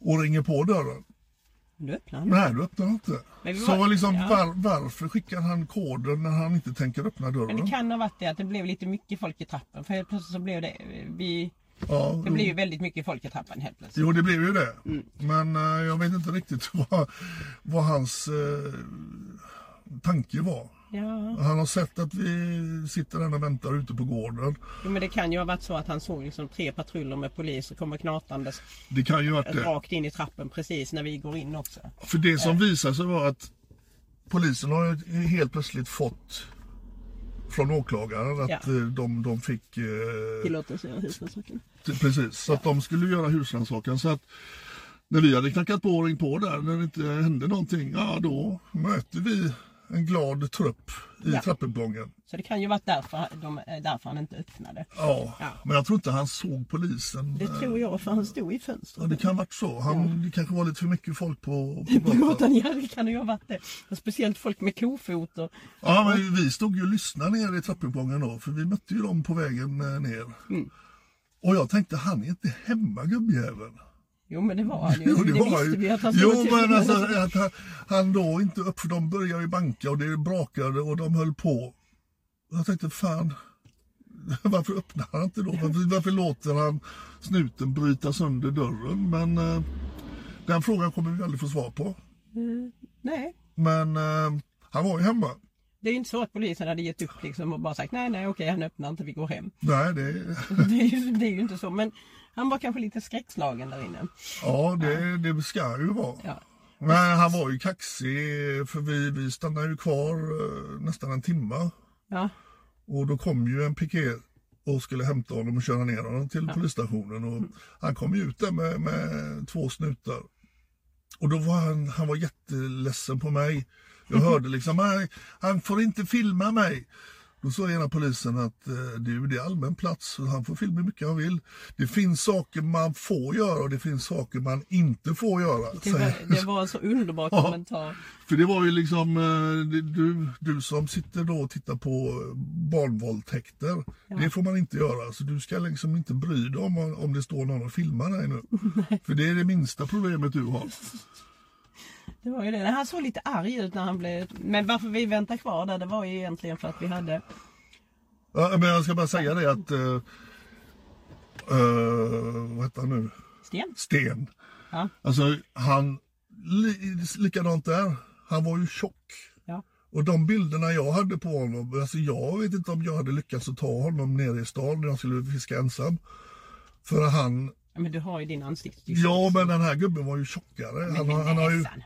C: och ringer på dörren.
B: Du öppnar den.
C: Nej, du öppnar inte.
B: Men vi
C: Så
B: var-
C: liksom
B: ja.
C: var, varför skickar han koden när han inte tänker öppna
B: Men det
C: dörren?
B: kan ha varit det att det blev lite mycket folk i trappen. För helt plötsligt så blev det... Vi,
C: Ja,
B: det blev ju Mm. väldigt mycket folk i trappen helt plötsligt.
C: Jo, det blev ju det. Men eh, jag vet inte riktigt vad, vad hans eh, tanke var.
B: Ja.
C: Han har sett att vi sitter där och väntar ute på gården.
B: Jo, men det kan ju ha varit så att han såg liksom tre patruller med poliser komma knatandes
C: Det kan ju ha varit det.
B: rakt in i trappen precis när vi går in också.
C: För det som visade sig var att polisen har ju helt plötsligt fått från åklagaren att
B: Ja.
C: eh, de, de fick... eh,
B: Tillåtelse göra husrannsakan.
C: t- Precis, så att de skulle göra husrannsakan. Så att när vi hade knackat på och ringt på där, när det inte hände någonting, ja då möter vi en glad trupp i
B: Ja.
C: trappuppgången.
B: Så det kan ju varit därför, de, eh, därför han inte öppnade.
C: Ja,
B: Ja.
C: men jag tror inte han såg polisen.
B: Det tror jag för han stod i
C: Ja,
B: fönstret.
C: det kan ha varit så. Han, Det kanske var lite för mycket folk på,
B: På
C: på gatan.
B: gatan ja, det kan ju ha varit det. Och speciellt folk med klofot och
C: Ja, men vi stod ju och lyssnade ner i trappuppgången då, för vi mötte ju dem på vägen eh, ner.
B: Mm.
C: Och jag tänkte, han är inte hemma gubbjäveln.
B: Jo men det var han ju.
C: Jo, det var
B: visste vi
C: ju.
B: att han
C: Jo,
B: stod
C: men alltså att han, han då inte upp, för de började ju banka och det brakade och de höll på. Och jag tänkte, fan, varför öppnar han inte då? Varför, varför låter han snuten bryta sönder dörren? Men eh, den frågan kommer vi aldrig få svar på.
B: Nej.
C: Men eh, han var ju hemma.
B: Det är ju inte så att polisen hade gett upp liksom och bara sagt nej nej okej han öppnar inte vi går hem.
C: Nej, det,
B: Det är, ju, det är ju inte så men han var kanske lite skräckslagen där inne.
C: ja, det, det ska ju vara.
B: Ja.
C: Men han var ju kaxig för vi, vi stannade ju kvar eh, nästan en timme
B: Ja.
C: och då kom ju en piké och skulle hämta honom och köra ner honom till polisstationen och han kom ju ut där med, med två snutar. Och då var han, han var jätteledsen på mig. Jag hörde liksom, "Nej, han får inte filma mig. Då sa ena polisen att eh, du, det är allmän plats så han får filma hur mycket han vill. Det finns saker man får göra och det finns saker man inte får göra.
B: Det
C: säger-
B: var, det var en så underbar
C: Ja.
B: kommentar.
C: för det var ju liksom eh, det- du, du som sitter då och tittar på eh, barnvåldtäkter. Det får man inte göra. Så du ska liksom inte bry dig om, om det står någon och filmar dig nu. För det är det minsta problemet du har.
B: Det var ju det. Han såg lite arg ut när han blev... Men varför vi väntar kvar där det var ju egentligen för att vi hade...
C: Ja, men jag ska bara säga det att eh, eh, vad heter han nu?
B: Sten?
C: Sten.
B: Ja.
C: Alltså han, li, likadant där. Han var ju tjock.
B: Ja.
C: Och de bilderna jag hade på honom, alltså jag vet inte om jag hade lyckats att ta honom nere i stan när jag skulle fiska ensam. För han,
B: Ja, Men du har ju din ansiktsdysfysi.
C: ja men den här gubben var ju tjockare. Han, har- han har ju,
B: näsan.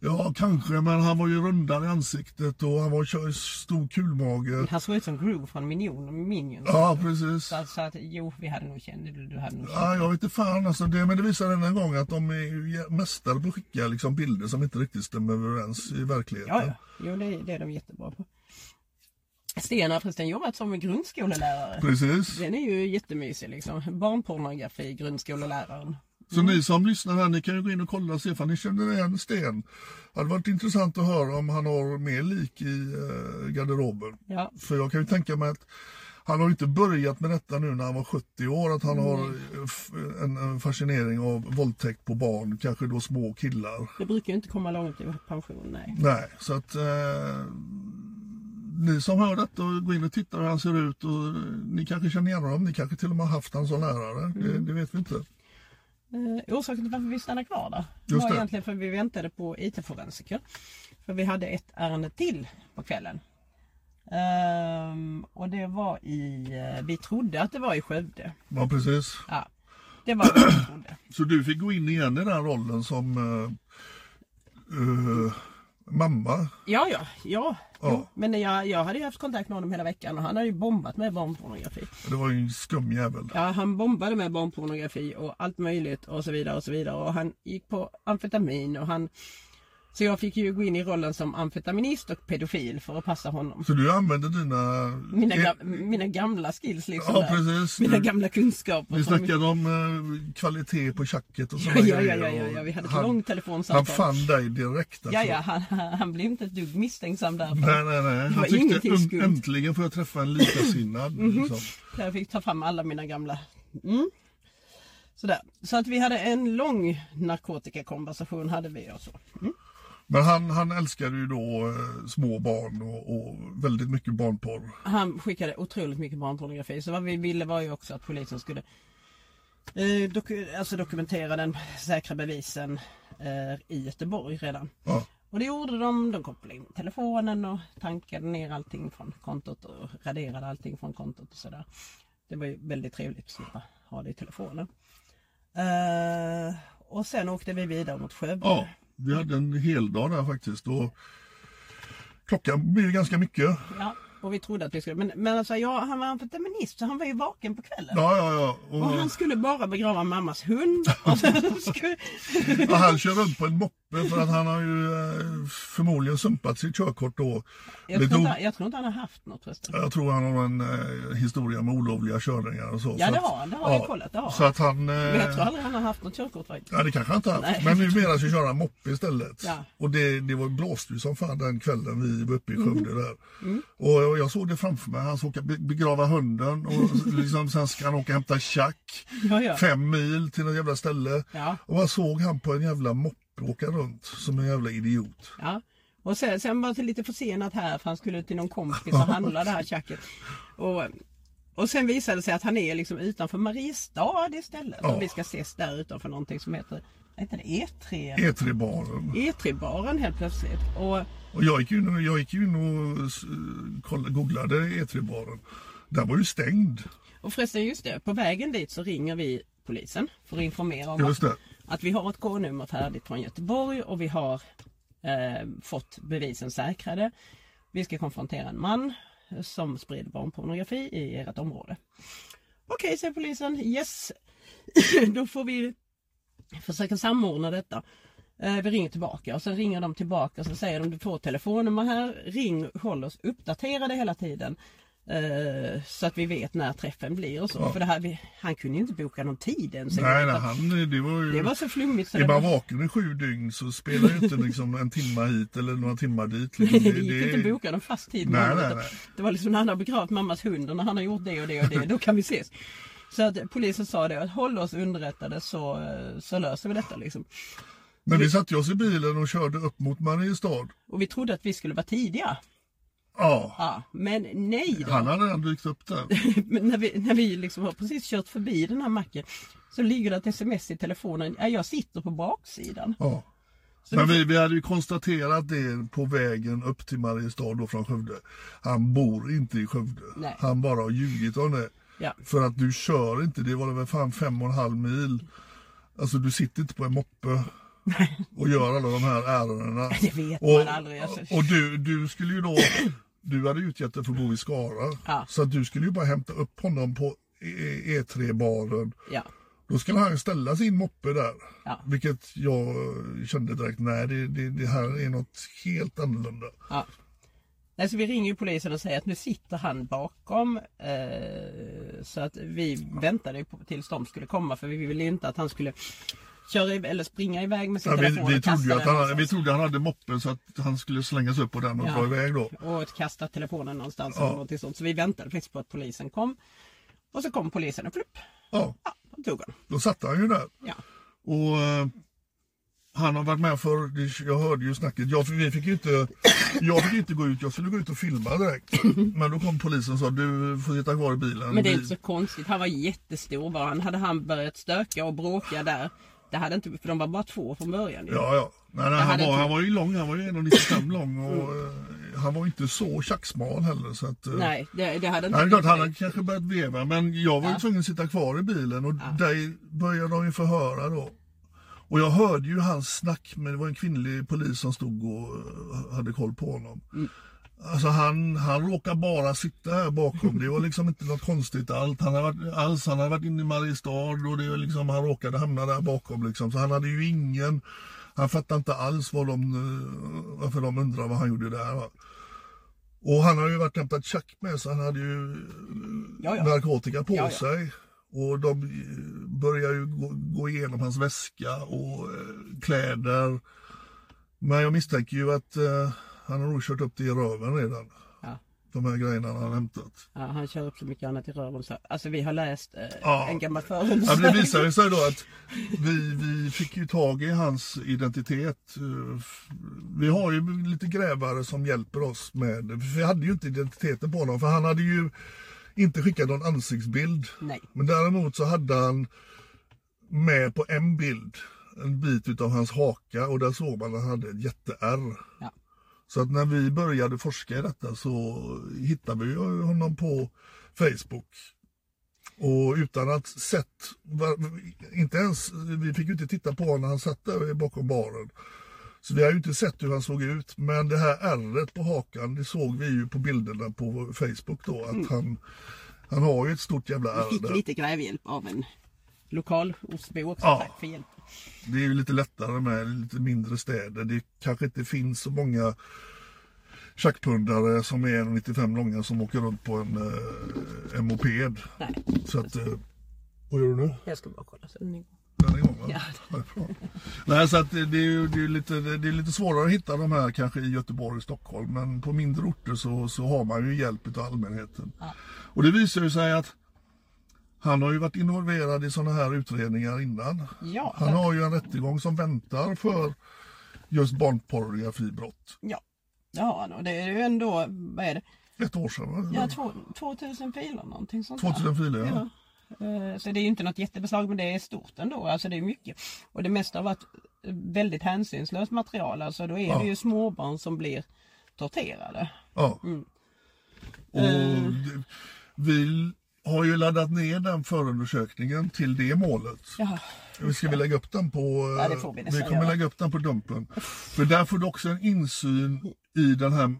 C: ja kanske, men han var ju rundare i ansiktet och han var tjo- stor kulmage.
B: Han såg ut som Groove från Minion, Minions.
C: Ja precis.
B: Så, att- så att jo, vi hade nog känt du, du hade nog känt.
C: Ja, jag vet inte fan alltså, det, men det visar än en gång att de är ju jä- mästare på att skicka liksom, bilder som inte riktigt stämmer överens i verkligheten.
B: Ja, ja. Jo, det, det är de jättebra på. Sten har förresten jobbat som grundskolelärare.
C: Precis.
B: Den är ju jättemysig liksom. Barnpornografi, grundskoleläraren.
C: Så ni som lyssnar här, ni kan ju gå in och kolla och se ifall ni känner igen Sten. Det hade varit intressant att höra om han har mer lik i eh, garderoben.
B: Ja,
C: För jag kan ju tänka mig att han har ju inte börjat med detta nu när han var 70 år, att han har eh, f- en, en fascinering av våldtäkt på barn, kanske då små killar.
B: det brukar ju inte komma långt i pension, nej.
C: Nej, så att eh, ni som hör detta, gå in och titta hur han ser ut och eh, ni kanske känner igen honom, ni kanske till och med har haft han som lärare, det, det vet vi inte.
B: Eh, orsaken till varför vi stannade kvar där
C: Just
B: var
C: det.
B: egentligen för att vi väntade på IT-forensiker. För vi hade ett ärende till på kvällen. Ehm, och det var i, eh, vi trodde att det var i Skövde.
C: Ja, precis.
B: Ja, det var vad vi trodde.
C: Så du fick gå in igen i den rollen som eh, eh, mamma?
B: Ja, ja, ja. Jo,
C: Ja.
B: men jag, jag hade ju haft kontakt med honom hela veckan och han hade ju bombat med barnpornografi.
C: Det var ju en skum jävel.
B: Ja, han bombade med barnpornografi och allt möjligt och så vidare och så vidare. Och han gick på amfetamin och han... Så jag fick ju gå in i rollen som amfetaminist och pedofil för att passa honom.
C: Så du använde dina...
B: Mina,
C: Eh,
B: gam- mina gamla skills liksom.
C: Ja,
B: där.
C: precis.
B: Mina
C: Du-
B: gamla kunskaper.
C: Vi
B: som-
C: snackade om eh, kvalitet på tjacket och
B: Ja,
C: sådana
B: ja, ja,
C: grejer
B: ja,
C: och
B: ja, vi hade ett
C: han-
B: långt
C: Han
B: telefonsamtal.
C: fann dig direkt. alltså.
B: Ja, ja, han, han blev inte ett dugg misstänksam där.
C: Nej,
B: Det
C: nej, nej.
B: var
C: Han tyckte
B: ingenting skumt. Mhm.
C: "Äm- äntligen får jag träffa en likasinnad. liksom.
B: Så jag fick ta fram alla mina gamla. Mm. Sådär. Så att vi hade en lång narkotikakonversation hade vi och så. Mm.
C: Men han, han älskade ju då eh, små barn och, och väldigt mycket barnporr.
B: Han skickade otroligt mycket barnpornografi så vad vi ville var ju också att polisen skulle eh, doku- alltså dokumentera den säkra bevisen eh, i Göteborg redan.
C: Ja.
B: Och det gjorde de. De kopplade in telefonen och tankade ner allting från kontot och raderade allting från kontot och sådär. Det var ju väldigt trevligt att slippa ha det i telefonen. Eh, och sen åkte vi vidare mot Skövde.
C: ja, vi hade en hel dag där faktiskt. Och klockan blir ju ganska mycket.
B: Ja, och vi trodde att vi skulle... Men, men alltså, ja, han var amfetaminist så han var ju vaken på kvällen.
C: Ja, ja, ja.
B: Och
C: Och,
B: han skulle bara begrava mammas hund. Och sen skulle...
C: ja, han kör runt på en moppe för att han har ju eh, förmodligen sumpat sitt körkort då.
B: jag,
C: Lite
B: tror
C: o-
B: inte, han- jag tror inte han har haft något förresten.
C: Jag tror han har en eh, historia med olovliga körningar och så.
B: Ja,
C: Så
B: det
C: att-
B: har han. Det har jag kollat, det har
C: Så
B: han.
C: att han... eh,
B: Men jag tror aldrig han har haft något körkort faktiskt.
C: Ja det kanske han inte har haft.
B: Nej.
C: Men numera så kör han moppe istället.
B: Ja. Mhm.
C: Och det, det var blåste ju som fan den kvällen vi var uppe i Skövde där.
B: Mm.
C: Och, och jag såg det framför mig. Han ska åka be- begrava hunden och liksom, sen ska han åka och hämta tjack.
B: Ja, ja.
C: Fem mil till något jävla ställe.
B: Ja.
C: Och jag såg han på en jävla moppe åka runt som en jävla idiot.
B: Ja. Och sen, sen var det lite försenat här för han skulle till någon kompis och handla det här tjacket. Och, och sen visade det sig att han är liksom utanför Mariestad istället.
C: Ja.
B: Och vi ska ses där utanför någonting som heter, heter det E E3?
C: E- E3-baren.
B: E3-baren helt plötsligt. Och
C: Och jag gick ju in, jag gick ju in och s- kolla- googlade E3-baren. Den var ju stängd.
B: Och förresten just det, på vägen dit så ringer vi polisen för att informera om
C: Just
B: att,
C: det.
B: att vi har ett K-nummer färdigt från Göteborg och vi har eh, fått bevisen säkrade. Vi ska konfrontera en man som sprider barnpornografi i ert område. Okej, säger polisen. Yes, då får vi försöka samordna detta. Eh, Vi ringer tillbaka och sen ringer de tillbaka och så säger de du får telefonnummer här, ring, håll oss uppdaterade hela tiden. Eh, så att vi vet när träffen blir och så. För det här, vi, han kunde ju inte boka någon tid ens. en
C: Nej,
B: gång,
C: nej,
B: utan
C: han, det var ju...
B: Det var så flummigt. Så
C: Är
B: det
C: man
B: var,
C: vaken i sju dygn så spelar ju inte liksom en timma hit eller några timmar dit.
B: det
C: Liksom.
B: gick inte att boka någon fast tid. med
C: Nej,
B: honom,
C: nej,
B: utan
C: nej.
B: Det var liksom när han har begravt mammas hund och när han har gjort det och det och det, då kan vi ses. Så att polisen sa det, att håll oss underrättade så, eh, så löser vi detta liksom.
C: Men vi satte oss i bilen och körde upp mot Mariestad.
B: Och vi trodde att vi skulle vara tidiga.
C: Ja,
B: Ja, men nej då.
C: han hade redan dykt upp där.
B: Men när vi, när vi liksom har precis kört förbi den här macken så ligger det ett sms i telefonen. Ja, jag sitter på baksidan.
C: Ja. Men vi, vi hade ju konstaterat det på vägen upp till Mariestad då från Skövde. Han bor inte i Skövde.
B: Nej.
C: Han bara har ljugit om det.
B: Ja.
C: För att du kör inte, det var väl fan fem och en halv mil. Alltså du sitter inte på en moppe och gör alla de här ärendena.
B: Det vet man aldrig, alltså.
C: Och du, du skulle ju då, du hade utgett dig för att bo i Skara.
B: Ja.
C: Så att du skulle ju bara hämta upp honom på E- E3-baren.
B: Ja,
C: Då skulle han ställa sin moppe där.
B: Ja.
C: Vilket jag eh, kände direkt, nej det, det, det här är något helt annorlunda.
B: ja. Nej, så vi ringer ju polisen och säger att nu sitter han bakom. Eh, så att vi väntade ju på, tills de skulle komma för vi ville ju inte att han skulle köra i, eller springa iväg med sin
C: Ja,
B: telefon
C: vi, vi,
B: och kasta
C: trodde ju att
B: den
C: han, vi
B: någonstans.
C: trodde han hade moppen så att han skulle slängas upp på den och
B: Ja.
C: dra iväg då.
B: och att kasta telefonen någonstans. Eller någonting sånt. Så vi väntade faktiskt på att polisen kom. Och så kom polisen och plupp,
C: Ja,
B: ja, de tog honom.
C: då satt han ju där.
B: Ja.
C: Och eh, han har varit med för det- jag hörde ju snacket. Jag, vi fick ju inte, jag fick inte gå ut, jag skulle gå ut och filma direkt. Men då kom polisen och sa du får sitta kvar i bilen.
B: Men det är
C: Vi-
B: inte så konstigt. Han var jättestor var han. Hade han börjat stöka och bråka där. Det hade inte, för de var bara två från början. ju.
C: Ja, ja. Nej, nej, han,
B: hade
C: var,
B: inte-
C: han var ju lång, han var ju 1,95 lång och eh, han var inte så tjacksmal heller. Så att, eh,
B: Nej, det, det hade inte...
C: Nej, det är klart, han hade kanske börjat veva men jag var ju tvungen att sitta kvar i bilen och där började de ju förhöra då. Och jag hörde ju hans snack men det var en kvinnlig polis som stod och eh, hade koll på honom. Alltså han, han råkar bara sitta här bakom. Det var liksom inte något konstigt allt. Han hade varit, alls. Han hade varit inne i Mariestad och det var liksom, han råkade hamna där bakom. Liksom. Så han hade ju ingen... Han fattade inte alls vad de, eh, varför de undrade vad han gjorde där. Va? Och han har ju varit och hämtat tjack med sig. Han hade ju
B: Ja, ja.
C: narkotika på
B: Ja, ja.
C: sig. Och de eh, börjar ju gå, gå igenom hans väska och eh, kläder. Men jag misstänker ju att eh, han har nog kört upp det i röven redan.
B: Ja.
C: de här grejerna han har hämtat.
B: Ja, han kör upp så mycket annat i röven. Så, alltså vi har läst eh,
C: Ja.
B: en gammal
C: Ja, men det
B: förundersökning.
C: visade sig då att vi, vi fick ju tag i hans identitet. Eh, f- Vi har ju lite grävare som hjälper oss med för Vi hade ju inte identiteten på honom för han hade ju inte skickat någon ansiktsbild.
B: Nej.
C: Men däremot så hade han med på en bild en bit utav hans haka och där såg man att han hade ett jätteärr.
B: Ja.
C: Så att när vi började forska i detta så hittade vi ju honom på Facebook. Och utan att sett, var- inte ens, vi fick ju inte titta på honom när han satt där bakom baren. Så vi har ju inte sett hur han såg ut. Men det här ärret på hakan, det såg vi ju på bilderna på Facebook då. Att han, han har ju ett stort jävla
B: Mm. Vi fick
C: ärr där.
B: lite grävhjälp av en lokal ostbo också.
C: Ja.
B: Tack för hjälp.
C: Det är ju lite lättare med lite mindre städer. Det kanske inte finns så många tjackpundare som är 1,95 långa som åker runt på en, eh, en moped.
B: Nej,
C: Så att, eh, vad gör du nu?
B: jag ska bara kolla. Så.
C: Den är igång va?
B: Ja.
C: Ja, det är bra. Nej, så att det, det, är ju, det, är ju lite, det det är lite svårare att hitta de här kanske i Göteborg och Stockholm. Men på mindre orter så, så har man ju hjälp av allmänheten. Och det visar ju sig att han har ju varit involverad i sådana här utredningar innan.
B: Ja,
C: Han har ju en rättegång som väntar för just barnpornografibrott.
B: ja, det har han. Och det är ju ändå, vad är det?
C: Ett år sedan va?
B: Ja, två, 2000 filer någonting sånt där.
C: 2004 ja. ja.
B: Eh, Så det är ju inte något jättebeslag men det är stort ändå. Alltså det är mycket. Och det mesta har varit väldigt hänsynslöst material. Alltså då är det ju småbarn som blir torterade. Mm.
C: Och
B: Eh.
C: det, vi har ju laddat ner den förundersökningen till det målet.
B: Jaha.
C: Vi ska vi lägga upp den på... eh,
B: Ja, det får vi
C: vi
B: nästan
C: kommer
B: göra.
C: lägga upp den på Dumpen. För där får du också en insyn i den här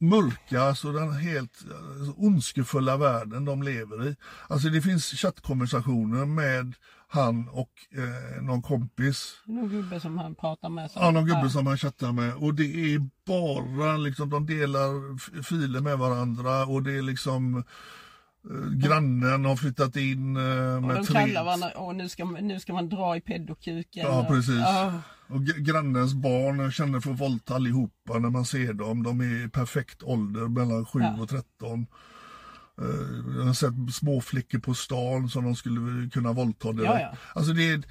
C: mörka, alltså den helt eh, ondskefulla världen de lever i. Alltså det finns chattkonversationer med han och eh, någon kompis.
B: Det är någon gubbe som han pratar med. som-
C: Ja, någon gubbe
B: Ja.
C: som han chattar med. Och det är bara liksom, de delar f- filer med varandra och det är liksom eh, grannen har flyttat in eh,
B: Och
C: med
B: de
C: tre...
B: kallar varandra och nu ska, man- nu ska man dra i peddokuken.
C: Ja,
B: och-
C: precis.
B: Ja.
C: Och gr- grannens barn känner för våldta allihopa när man ser dem. De är i perfekt ålder, mellan 7
B: Ja.
C: och 13. Eh, Jag har sett små flickor på stan som de skulle kunna våldta direkt.
B: Ja, ja.
C: Alltså det är,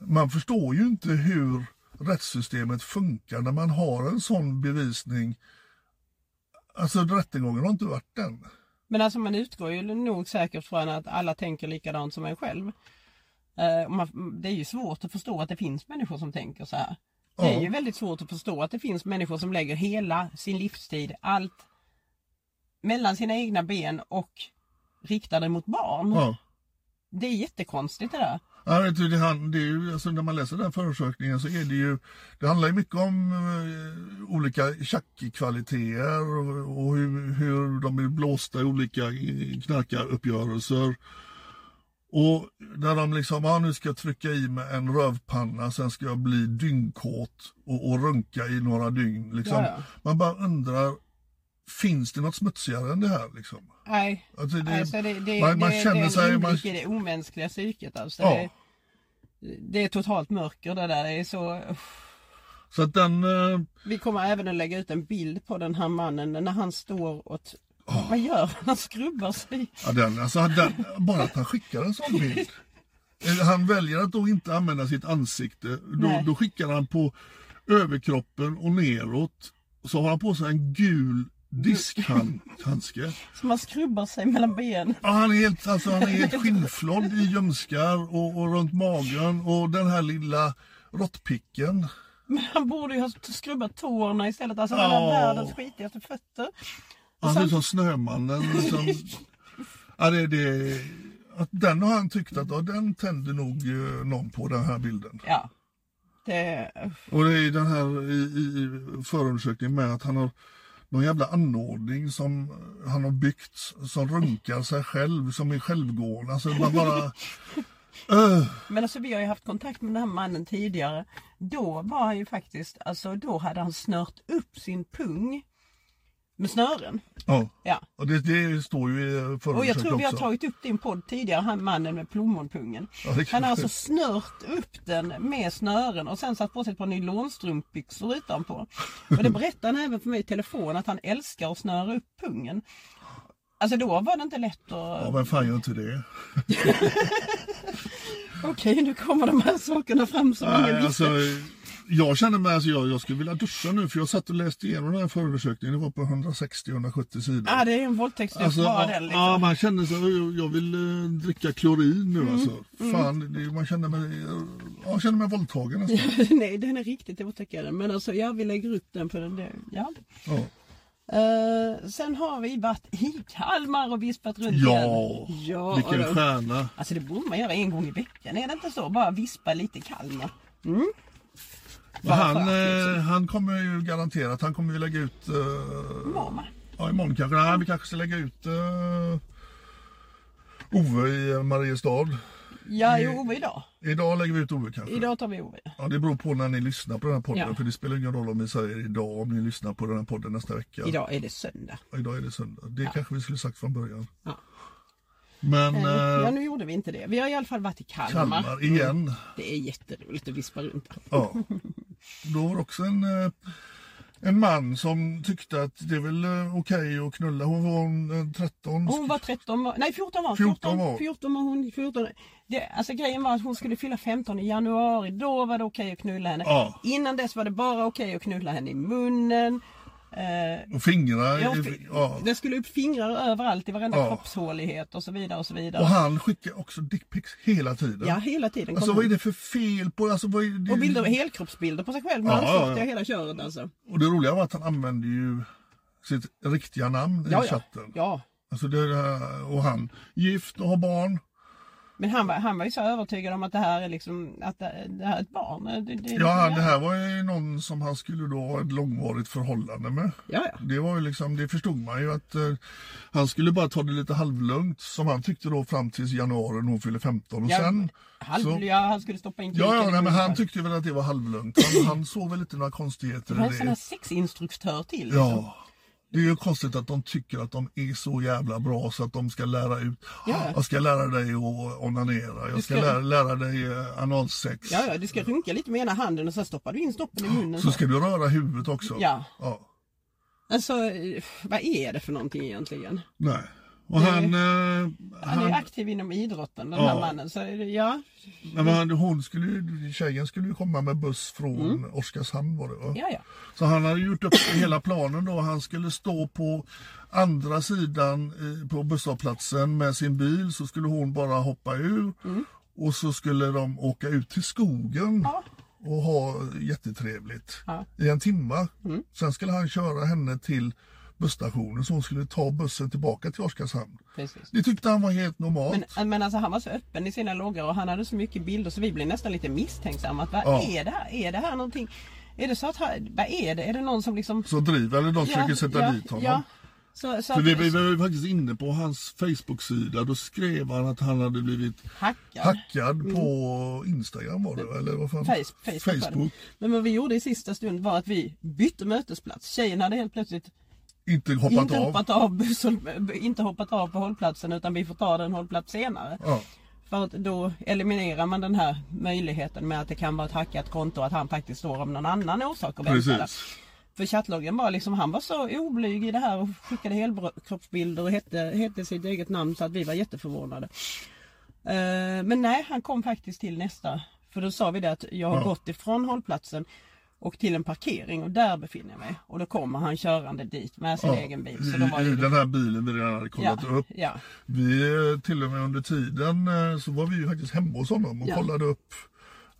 C: man förstår ju inte hur rättssystemet funkar när man har en sån bevisning. Alltså rättegången har inte varit den.
B: Men alltså man utgår ju nog säkert från att alla tänker likadant som en själv. Eh, och man, det är ju svårt att förstå att det finns människor som tänker så här. Det
C: Ja.
B: är ju väldigt svårt att förstå att det finns människor som lägger hela sin livstid, allt mellan sina egna ben och riktar det mot barn.
C: Ja.
B: Det är jättekonstigt det där.
C: Ja, vet du, det, han, det är ju, alltså, när man läser den här förundersökningen så är det ju, det handlar ju mycket om eh, olika tjackkvaliteter och, och hur, hur de är blåsta i olika eh, knarkaruppgörelser. Och när de liksom, ja nu ska jag trycka i mig en rövpanna, sen ska jag bli dyngkåt och, och runka i några dygn. Liksom.
B: Ja, ja.
C: Man bara undrar, finns det något smutsigare än det här? Liksom?
B: Nej,
C: Alltså, det,
B: alltså det, det,
C: man, man
B: det,
C: känner
B: det är en
C: sig... Man,
B: inblick i det omänskliga psyket. Alltså.
C: Ja.
B: Det, det är totalt mörker det där. Det är så...
C: så att den... eh,
B: Vi kommer även att lägga ut en bild på den här mannen när han står och... t- Vad gör han? Han skrubbar sig.
C: Ja, den, alltså, den, bara att han skickar en sån bild. Eh, Han väljer att då inte använda sitt ansikte. Då,
B: Nej.
C: då skickar han på överkroppen och neråt. Så har han på sig en gul diskhandske.
B: Som han skrubbar sig mellan benen.
C: Ja, han är helt, alltså, han är helt skinnflådd i ljumskar och, och runt magen och den här lilla råttpicken.
B: Men han borde ju ha skrubbat tårna istället. Alltså han
C: Ja.
B: har världens skitigaste fötter.
C: Han
B: Och
C: ser ut
B: sen-
C: som Snömannen. Liksom. ja, det, det, att den har han tyckt att ja, den tänder nog eh, någon på den här bilden.
B: Ja. Det...
C: Och det är den här i, i förundersökningen med att han har någon jävla anordning som han har byggt som runkar sig själv, som är självgående. Alltså man bara... Öh,
B: Men alltså vi har ju haft kontakt med den här mannen tidigare. Då var han ju faktiskt, alltså då hade han snört upp sin pung med snören.
C: Ja.
B: Ja.
C: Och det, det står ju i
B: Och jag
C: förundersökningen
B: tror vi har
C: också.
B: tagit upp din podd tidigare, han mannen med plommonpungen.
C: Ja, det kan-
B: Han har alltså snört upp den med snören och sen satt på sig ett par nylonstrumpbyxor utanpå. Och det berättade han även för mig i telefon att han älskar att snöra upp pungen. Alltså då var det inte lätt
C: Ja,
B: att...
C: vem fan gör inte det?
B: Okej, nu kommer de här sakerna fram som ingen
C: Nej,
B: visste.
C: alltså, jag känner mig, alltså, jag, jag skulle vilja duscha nu för jag satt och läste igenom den här förundersökningen. Det var på 160-170 sidor.
B: Ja, det är en våldtäktsdömd
C: Alltså,
B: bara
C: ja,
B: den liksom.
C: ja, man känner sig, jag, jag vill eh, dricka klorin nu
B: Mm,
C: alltså. Fan, det, man känner mig, ja, jag känner mig våldtagen nästan.
B: Nej, den är riktigt otäckare. Men alltså, ja, vi lägger upp den för den där. Ja.
C: Ja.
B: Eh, sen har vi varit i Kalmar och vispat runt
C: Ja,
B: igen. Ja, och
C: vilken
B: då-
C: stjärna.
B: Alltså det borde man göra en gång i veckan, är det inte så? Bara vispa lite Kalmar. Mm.
C: Men han,
B: skönt,
C: eh, han kommer ju garanterat, han kommer ju lägga ut, eh,
B: Mamma.
C: ja imorgon kanske, nej vi kanske ska lägga ut eh, Ove i Mariestad.
B: Ja, i Ove idag.
C: Idag lägger vi ut Ove kanske.
B: Idag tar vi Ove.
C: Ja, det beror på när ni lyssnar på den här podden.
B: Ja.
C: För det spelar ingen roll om ni säger idag, om ni lyssnar på den här podden nästa vecka.
B: Idag är det söndag.
C: Ja, idag är det söndag. Det kanske vi skulle sagt från början.
B: Ja.
C: Men
B: Eh,
C: eh,
B: Ja, nu gjorde vi inte det. Vi har i alla fall varit i Kalmar.
C: Kalmar igen.
B: Det är jätteroligt att vispa runt. där.
C: Ja. Då var det också en, eh, en man som tyckte att det är väl eh, okej att knulla. Hon var en, eh, 13.
B: Hon var 13, var- nej 14 var
C: 14
B: 14
C: var.
B: 14 var hon. 14. Det, alltså grejen var att hon skulle fylla 15 i januari. Då var det okej att knulla henne.
C: Ja.
B: Innan dess var det bara okej att knulla henne i munnen. Eh,
C: Och fingrar.
B: ja,
C: i- Ja.
B: Det skulle upp fingrar överallt i varenda
C: Ja.
B: kroppshålighet och så vidare och så vidare.
C: Och han skickar också dickpics hela tiden.
B: Ja, hela tiden.
C: Alltså
B: kom
C: vad är
B: hon.
C: det för fel på... Alltså, vad är det?
B: Och bilder, helkroppsbilder på sig själv med
C: Ja, ja, ja.
B: ansikte och hela köret alltså.
C: Och det roliga var att han använde ju sitt riktiga namn
B: Ja,
C: i
B: ja.
C: chatten.
B: ja.
C: Alltså det, där- och han gift och har barn.
B: Men han var, han var ju så övertygad om att det här är liksom, att det, det här är ett barn. Det, det, det-
C: Ja, han- det här var ju någon som han skulle då ha ett långvarigt förhållande med.
B: Ja, ja.
C: Det var ju liksom, det förstod man ju att eh, han skulle bara ta det lite halvlugnt som han tyckte då fram tills januari när hon fyllde 15 och
B: Ja,
C: sen
B: Halv,
C: så,
B: ja, han skulle stoppa in
C: Ja,
B: kuken i
C: ja nej, men
B: munnen.
C: han tyckte väl att det var halvlugnt. Han, han såg väl inte några konstigheter
B: Det var en
C: i
B: sån här
C: det.
B: sexinstruktör till. liksom.
C: Ja. Det är ju konstigt att de tycker att de är så jävla bra så att de ska lära ut. "Ah,
B: Ja.
C: Jag ska lära dig att onanera. Jag ska
B: ska-
C: lära, lära dig eh, analsex.
B: Ja, ja, du ska runka lite med ena handen och sen stoppar du in snoppen i munnen.
C: Så ska du röra huvudet också.
B: Ja.
C: ja.
B: Alltså, eh, vad är det för någonting egentligen?
C: Nej. Och han, eh,
B: Han är
C: han,
B: ju aktiv inom idrotten den här
C: Ja.
B: mannen. Så, är det- ja,
C: nej, men han, hon skulle ju, tjejen skulle ju komma med buss från Oskarshamn var det va?
B: Mm. ja, ja.
C: Så han hade gjort upp hela planen då. Han skulle stå på andra sidan eh, på busshållplatsen med sin bil så skulle hon bara hoppa ur och så skulle de åka ut till skogen
B: Mm. Ja.
C: och ha jättetrevligt
B: Ja. Mm.
C: i en timma. Sen skulle han köra henne till busstationen så hon skulle ta bussen tillbaka till Oskarshamn.
B: Precis.
C: Det tyckte han var helt normalt.
B: Men, men alltså han var så öppen i sina loggar och han hade så mycket bilder så vi blev nästan lite misstänksamma. Att, vad
C: Ja.
B: är det här? Är det här någonting? Är det så att han, vad är det? Är det någon som liksom...
C: Så driver, eller de försöker sätta
B: ja,
C: dit honom.
B: Ja. Så, så
C: För
B: att,
C: vi, vi var ju faktiskt inne på hans Facebook-sida, då skrev han att han hade blivit
B: hackad.
C: hackad på Instagram var det va? eller vad fan?
B: Mm. Face, Facebook. var det.
C: Facebook.
B: Men vad vi gjorde i sista stund var att vi bytte mötesplats. Tjejen hade helt plötsligt
C: Inte hoppat
B: inte,
C: av.
B: Hoppat av bussen, inte hoppat av på hållplatsen utan vi får ta den hållplats senare.
C: Ja.
B: För att då eliminerar man den här möjligheten med att det kan vara ett hackat konto och att han faktiskt står av någon annan orsak och väntar. där.
C: Precis.
B: För chattloggen var liksom, han var så oblyg i det här och skickade helkroppsbilder och hette, hette sitt eget namn så att vi var jätteförvånade. Eh, men nej, han kom faktiskt till nästa. För då sa vi det att jag har gått ifrån hållplatsen och till en parkering och där befinner jag mig. Och då kommer han körande dit med sin
C: Ja. Mm,
B: egen bil. Så då var
C: I, I
B: det...
C: den här bilen vi redan hade kollat
B: ja,
C: upp.
B: ja,
C: Vi eh, till och med under tiden eh, så var vi ju faktiskt hemma hos honom och
B: Ja.
C: kollade upp.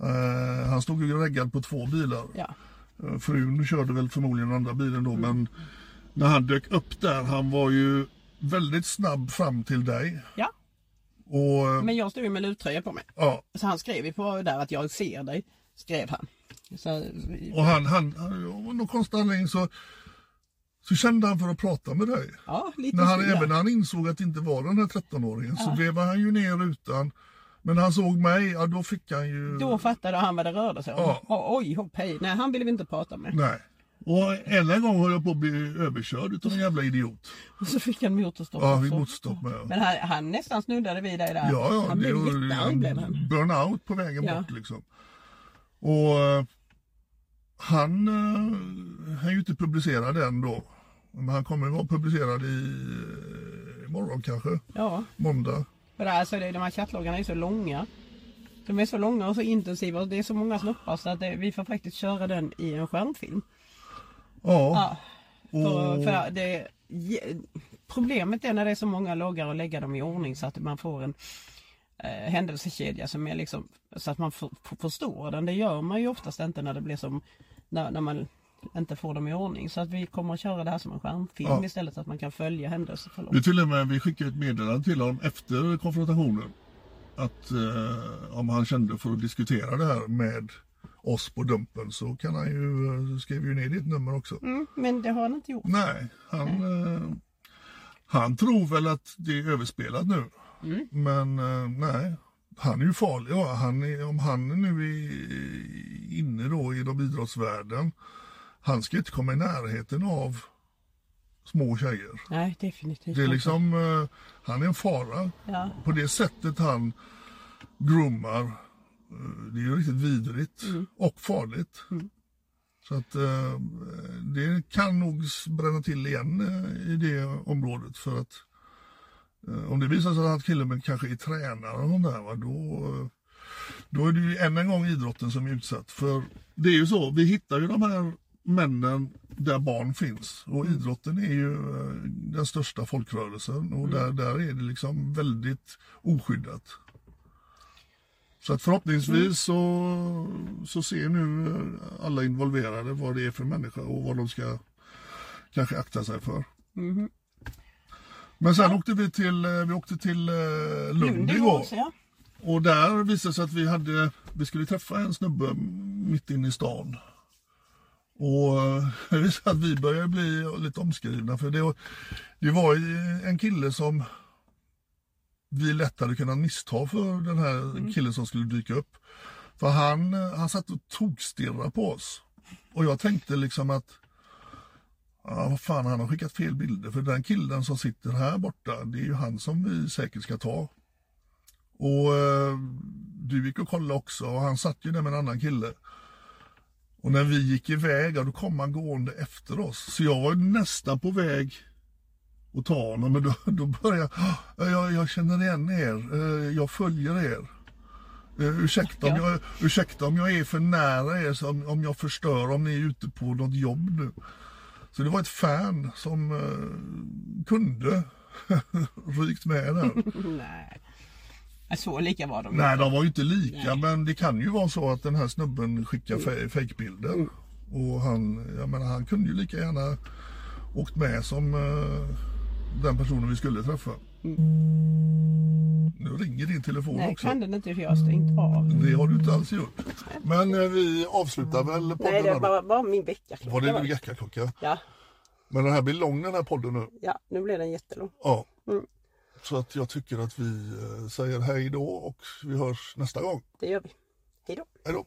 C: Eh, han stod ju reggad på två bilar.
B: ja.
C: Eh, Frun körde väl förmodligen den andra bilen
B: Mm.
C: då men när han dök upp där han var ju väldigt snabb fram till dig.
B: ja.
C: Och eh,
B: Men jag stod ju med luttröja på mig.
C: ja,
B: Så han skrev ju på där att jag ser dig. Skrev han. Så,
C: och han, han, han av någon konstig anledning så, så kände han för att prata med dig.
B: ja, lite
C: När han,
B: så, ja.
C: Även när han insåg att det inte var den här 13-åringen så blev han ju ner utan. Men när han såg mig, ja då fick han ju...
B: Då fattade han vad det rörde sig om.
C: Mm. Ja.
B: Ja. Oj, hopp hej. Nej, han ville vi inte prata med.
C: Nej. Och ena gången höll jag på att bli överkörd utav en jävla idiot.
B: Och så fick han motorstopp
C: Ja, vi
B: också.
C: motstopp med. Ja,
B: Men han, han nästan snuddade vid dig där.
C: ja
B: han blev
C: var-
B: jättearg blev han.
C: burnout på vägen
B: Ja.
C: bort liksom. Och eh, han eh, han är ju inte publicerad än då. Men han kommer vara publicerad i eh, imorgon kanske,
B: Ja,
C: måndag.
B: för det, här- alltså, det, de här chattloggarna är så långa. De är så långa och så intensiva och det är så många snoppar så att det, vi får faktiskt köra den i en skärmfilm.
C: Ja,
B: Ja, för,
C: och-
B: för det, ge- problemet är när det är så många loggar och lägga dem i ordning så att man får en eh, händelsekedja som är liksom så att man för, för, förstår den. Det gör man ju oftast inte när det blir som när, när man inte får dem i ordning. Så att vi kommer att köra det här som en skärmfilm
C: Ja.
B: istället så att man kan följa händelseförlopp.
C: Vi till och med vi skickade ett meddelande till honom efter konfrontationen. Att eh, om han kände för att diskutera det här med oss på Dumpen så kan han ju, eh, skrev ju ner ditt nummer också.
B: Mm, men det har han inte gjort.
C: Nej, han, eh, han tror väl att det är överspelat nu. Men eh, nej, han är ju farlig. Ja, han är, om han nu är inne då inom idrottsvärlden, han ska inte komma i närheten av små tjejer.
B: Nej, definitivt
C: Det är
B: inte.
C: liksom, eh, han är en fara.
B: Ja.
C: På det sättet han groomar, eh, det är ju riktigt vidrigt och farligt. Så att eh, det kan nog s- bränna till igen eh, i det området för att eh, om det visar sig att killen kanske är tränare och sånt där, va, då, eh, då är det ju än en gång idrotten som är utsatt. För det är ju så, vi hittar ju de här männen där barn finns och idrotten är ju eh, den största folkrörelsen och där, där är det liksom väldigt oskyddat. Så att förhoppningsvis så, så ser nu eh, alla involverade vad det är för människa och vad de ska kanske akta sig för. Men sen åkte vi till, eh, vi åkte till eh, Lund igår.
B: också, ja.
C: Och där visade det sig att vi, hade, vi skulle träffa en snubbe mitt inne i stan. Och eh, det visade sig att vi började bli lite omskrivna för det, var- det var ju en kille som vi lättare kunnat missta för den här killen som skulle dyka upp. För han, eh, han satt och tokstirrade på oss. Och jag tänkte liksom att Ja, vad fan, han har skickat fel bilder för den killen som sitter här borta, det är ju han som vi säkert ska ta. Och eh, du gick och kollade också och han satt ju där med en annan kille. Och när vi gick iväg, ja, då kom han gående efter oss. Så jag var nästan på väg att ta honom, men då, då började jag, "Ah, jag, jag känner igen er, eh, jag följer er. Eh, ursäkta, om jag, ursäkta om jag är för nära er, så om, om jag förstör om ni är ute på något jobb nu. Så det var ett fan som eh, kunde rykt med där.
B: Nej. Så lika var de
C: Nej, de var ju inte lika, men det kan ju vara så att den här snubben skickar
B: Mm.
C: fe- fejkbilder. Och han, jag menar, han kunde ju lika gärna åkt med som eh, den personen vi skulle träffa. Nu ringer din telefon
B: Mm. Nej,
C: också. Mm.
B: kan den inte för jag har stängt av.
C: Det har du inte alls gjort. Men eh, vi avslutar väl podden
B: Nej, det
C: här då.
B: var bara min väckarklocka.
C: Var det din väckarklocka?
B: Ja,
C: Men den här blir lång den här podden nu.
B: ja, nu blev den jättelång.
C: Ja.
B: Mm.
C: Så att jag tycker att vi eh, säger hej då och vi hörs nästa gång.
B: Det gör vi. Hej då.
C: Hej då!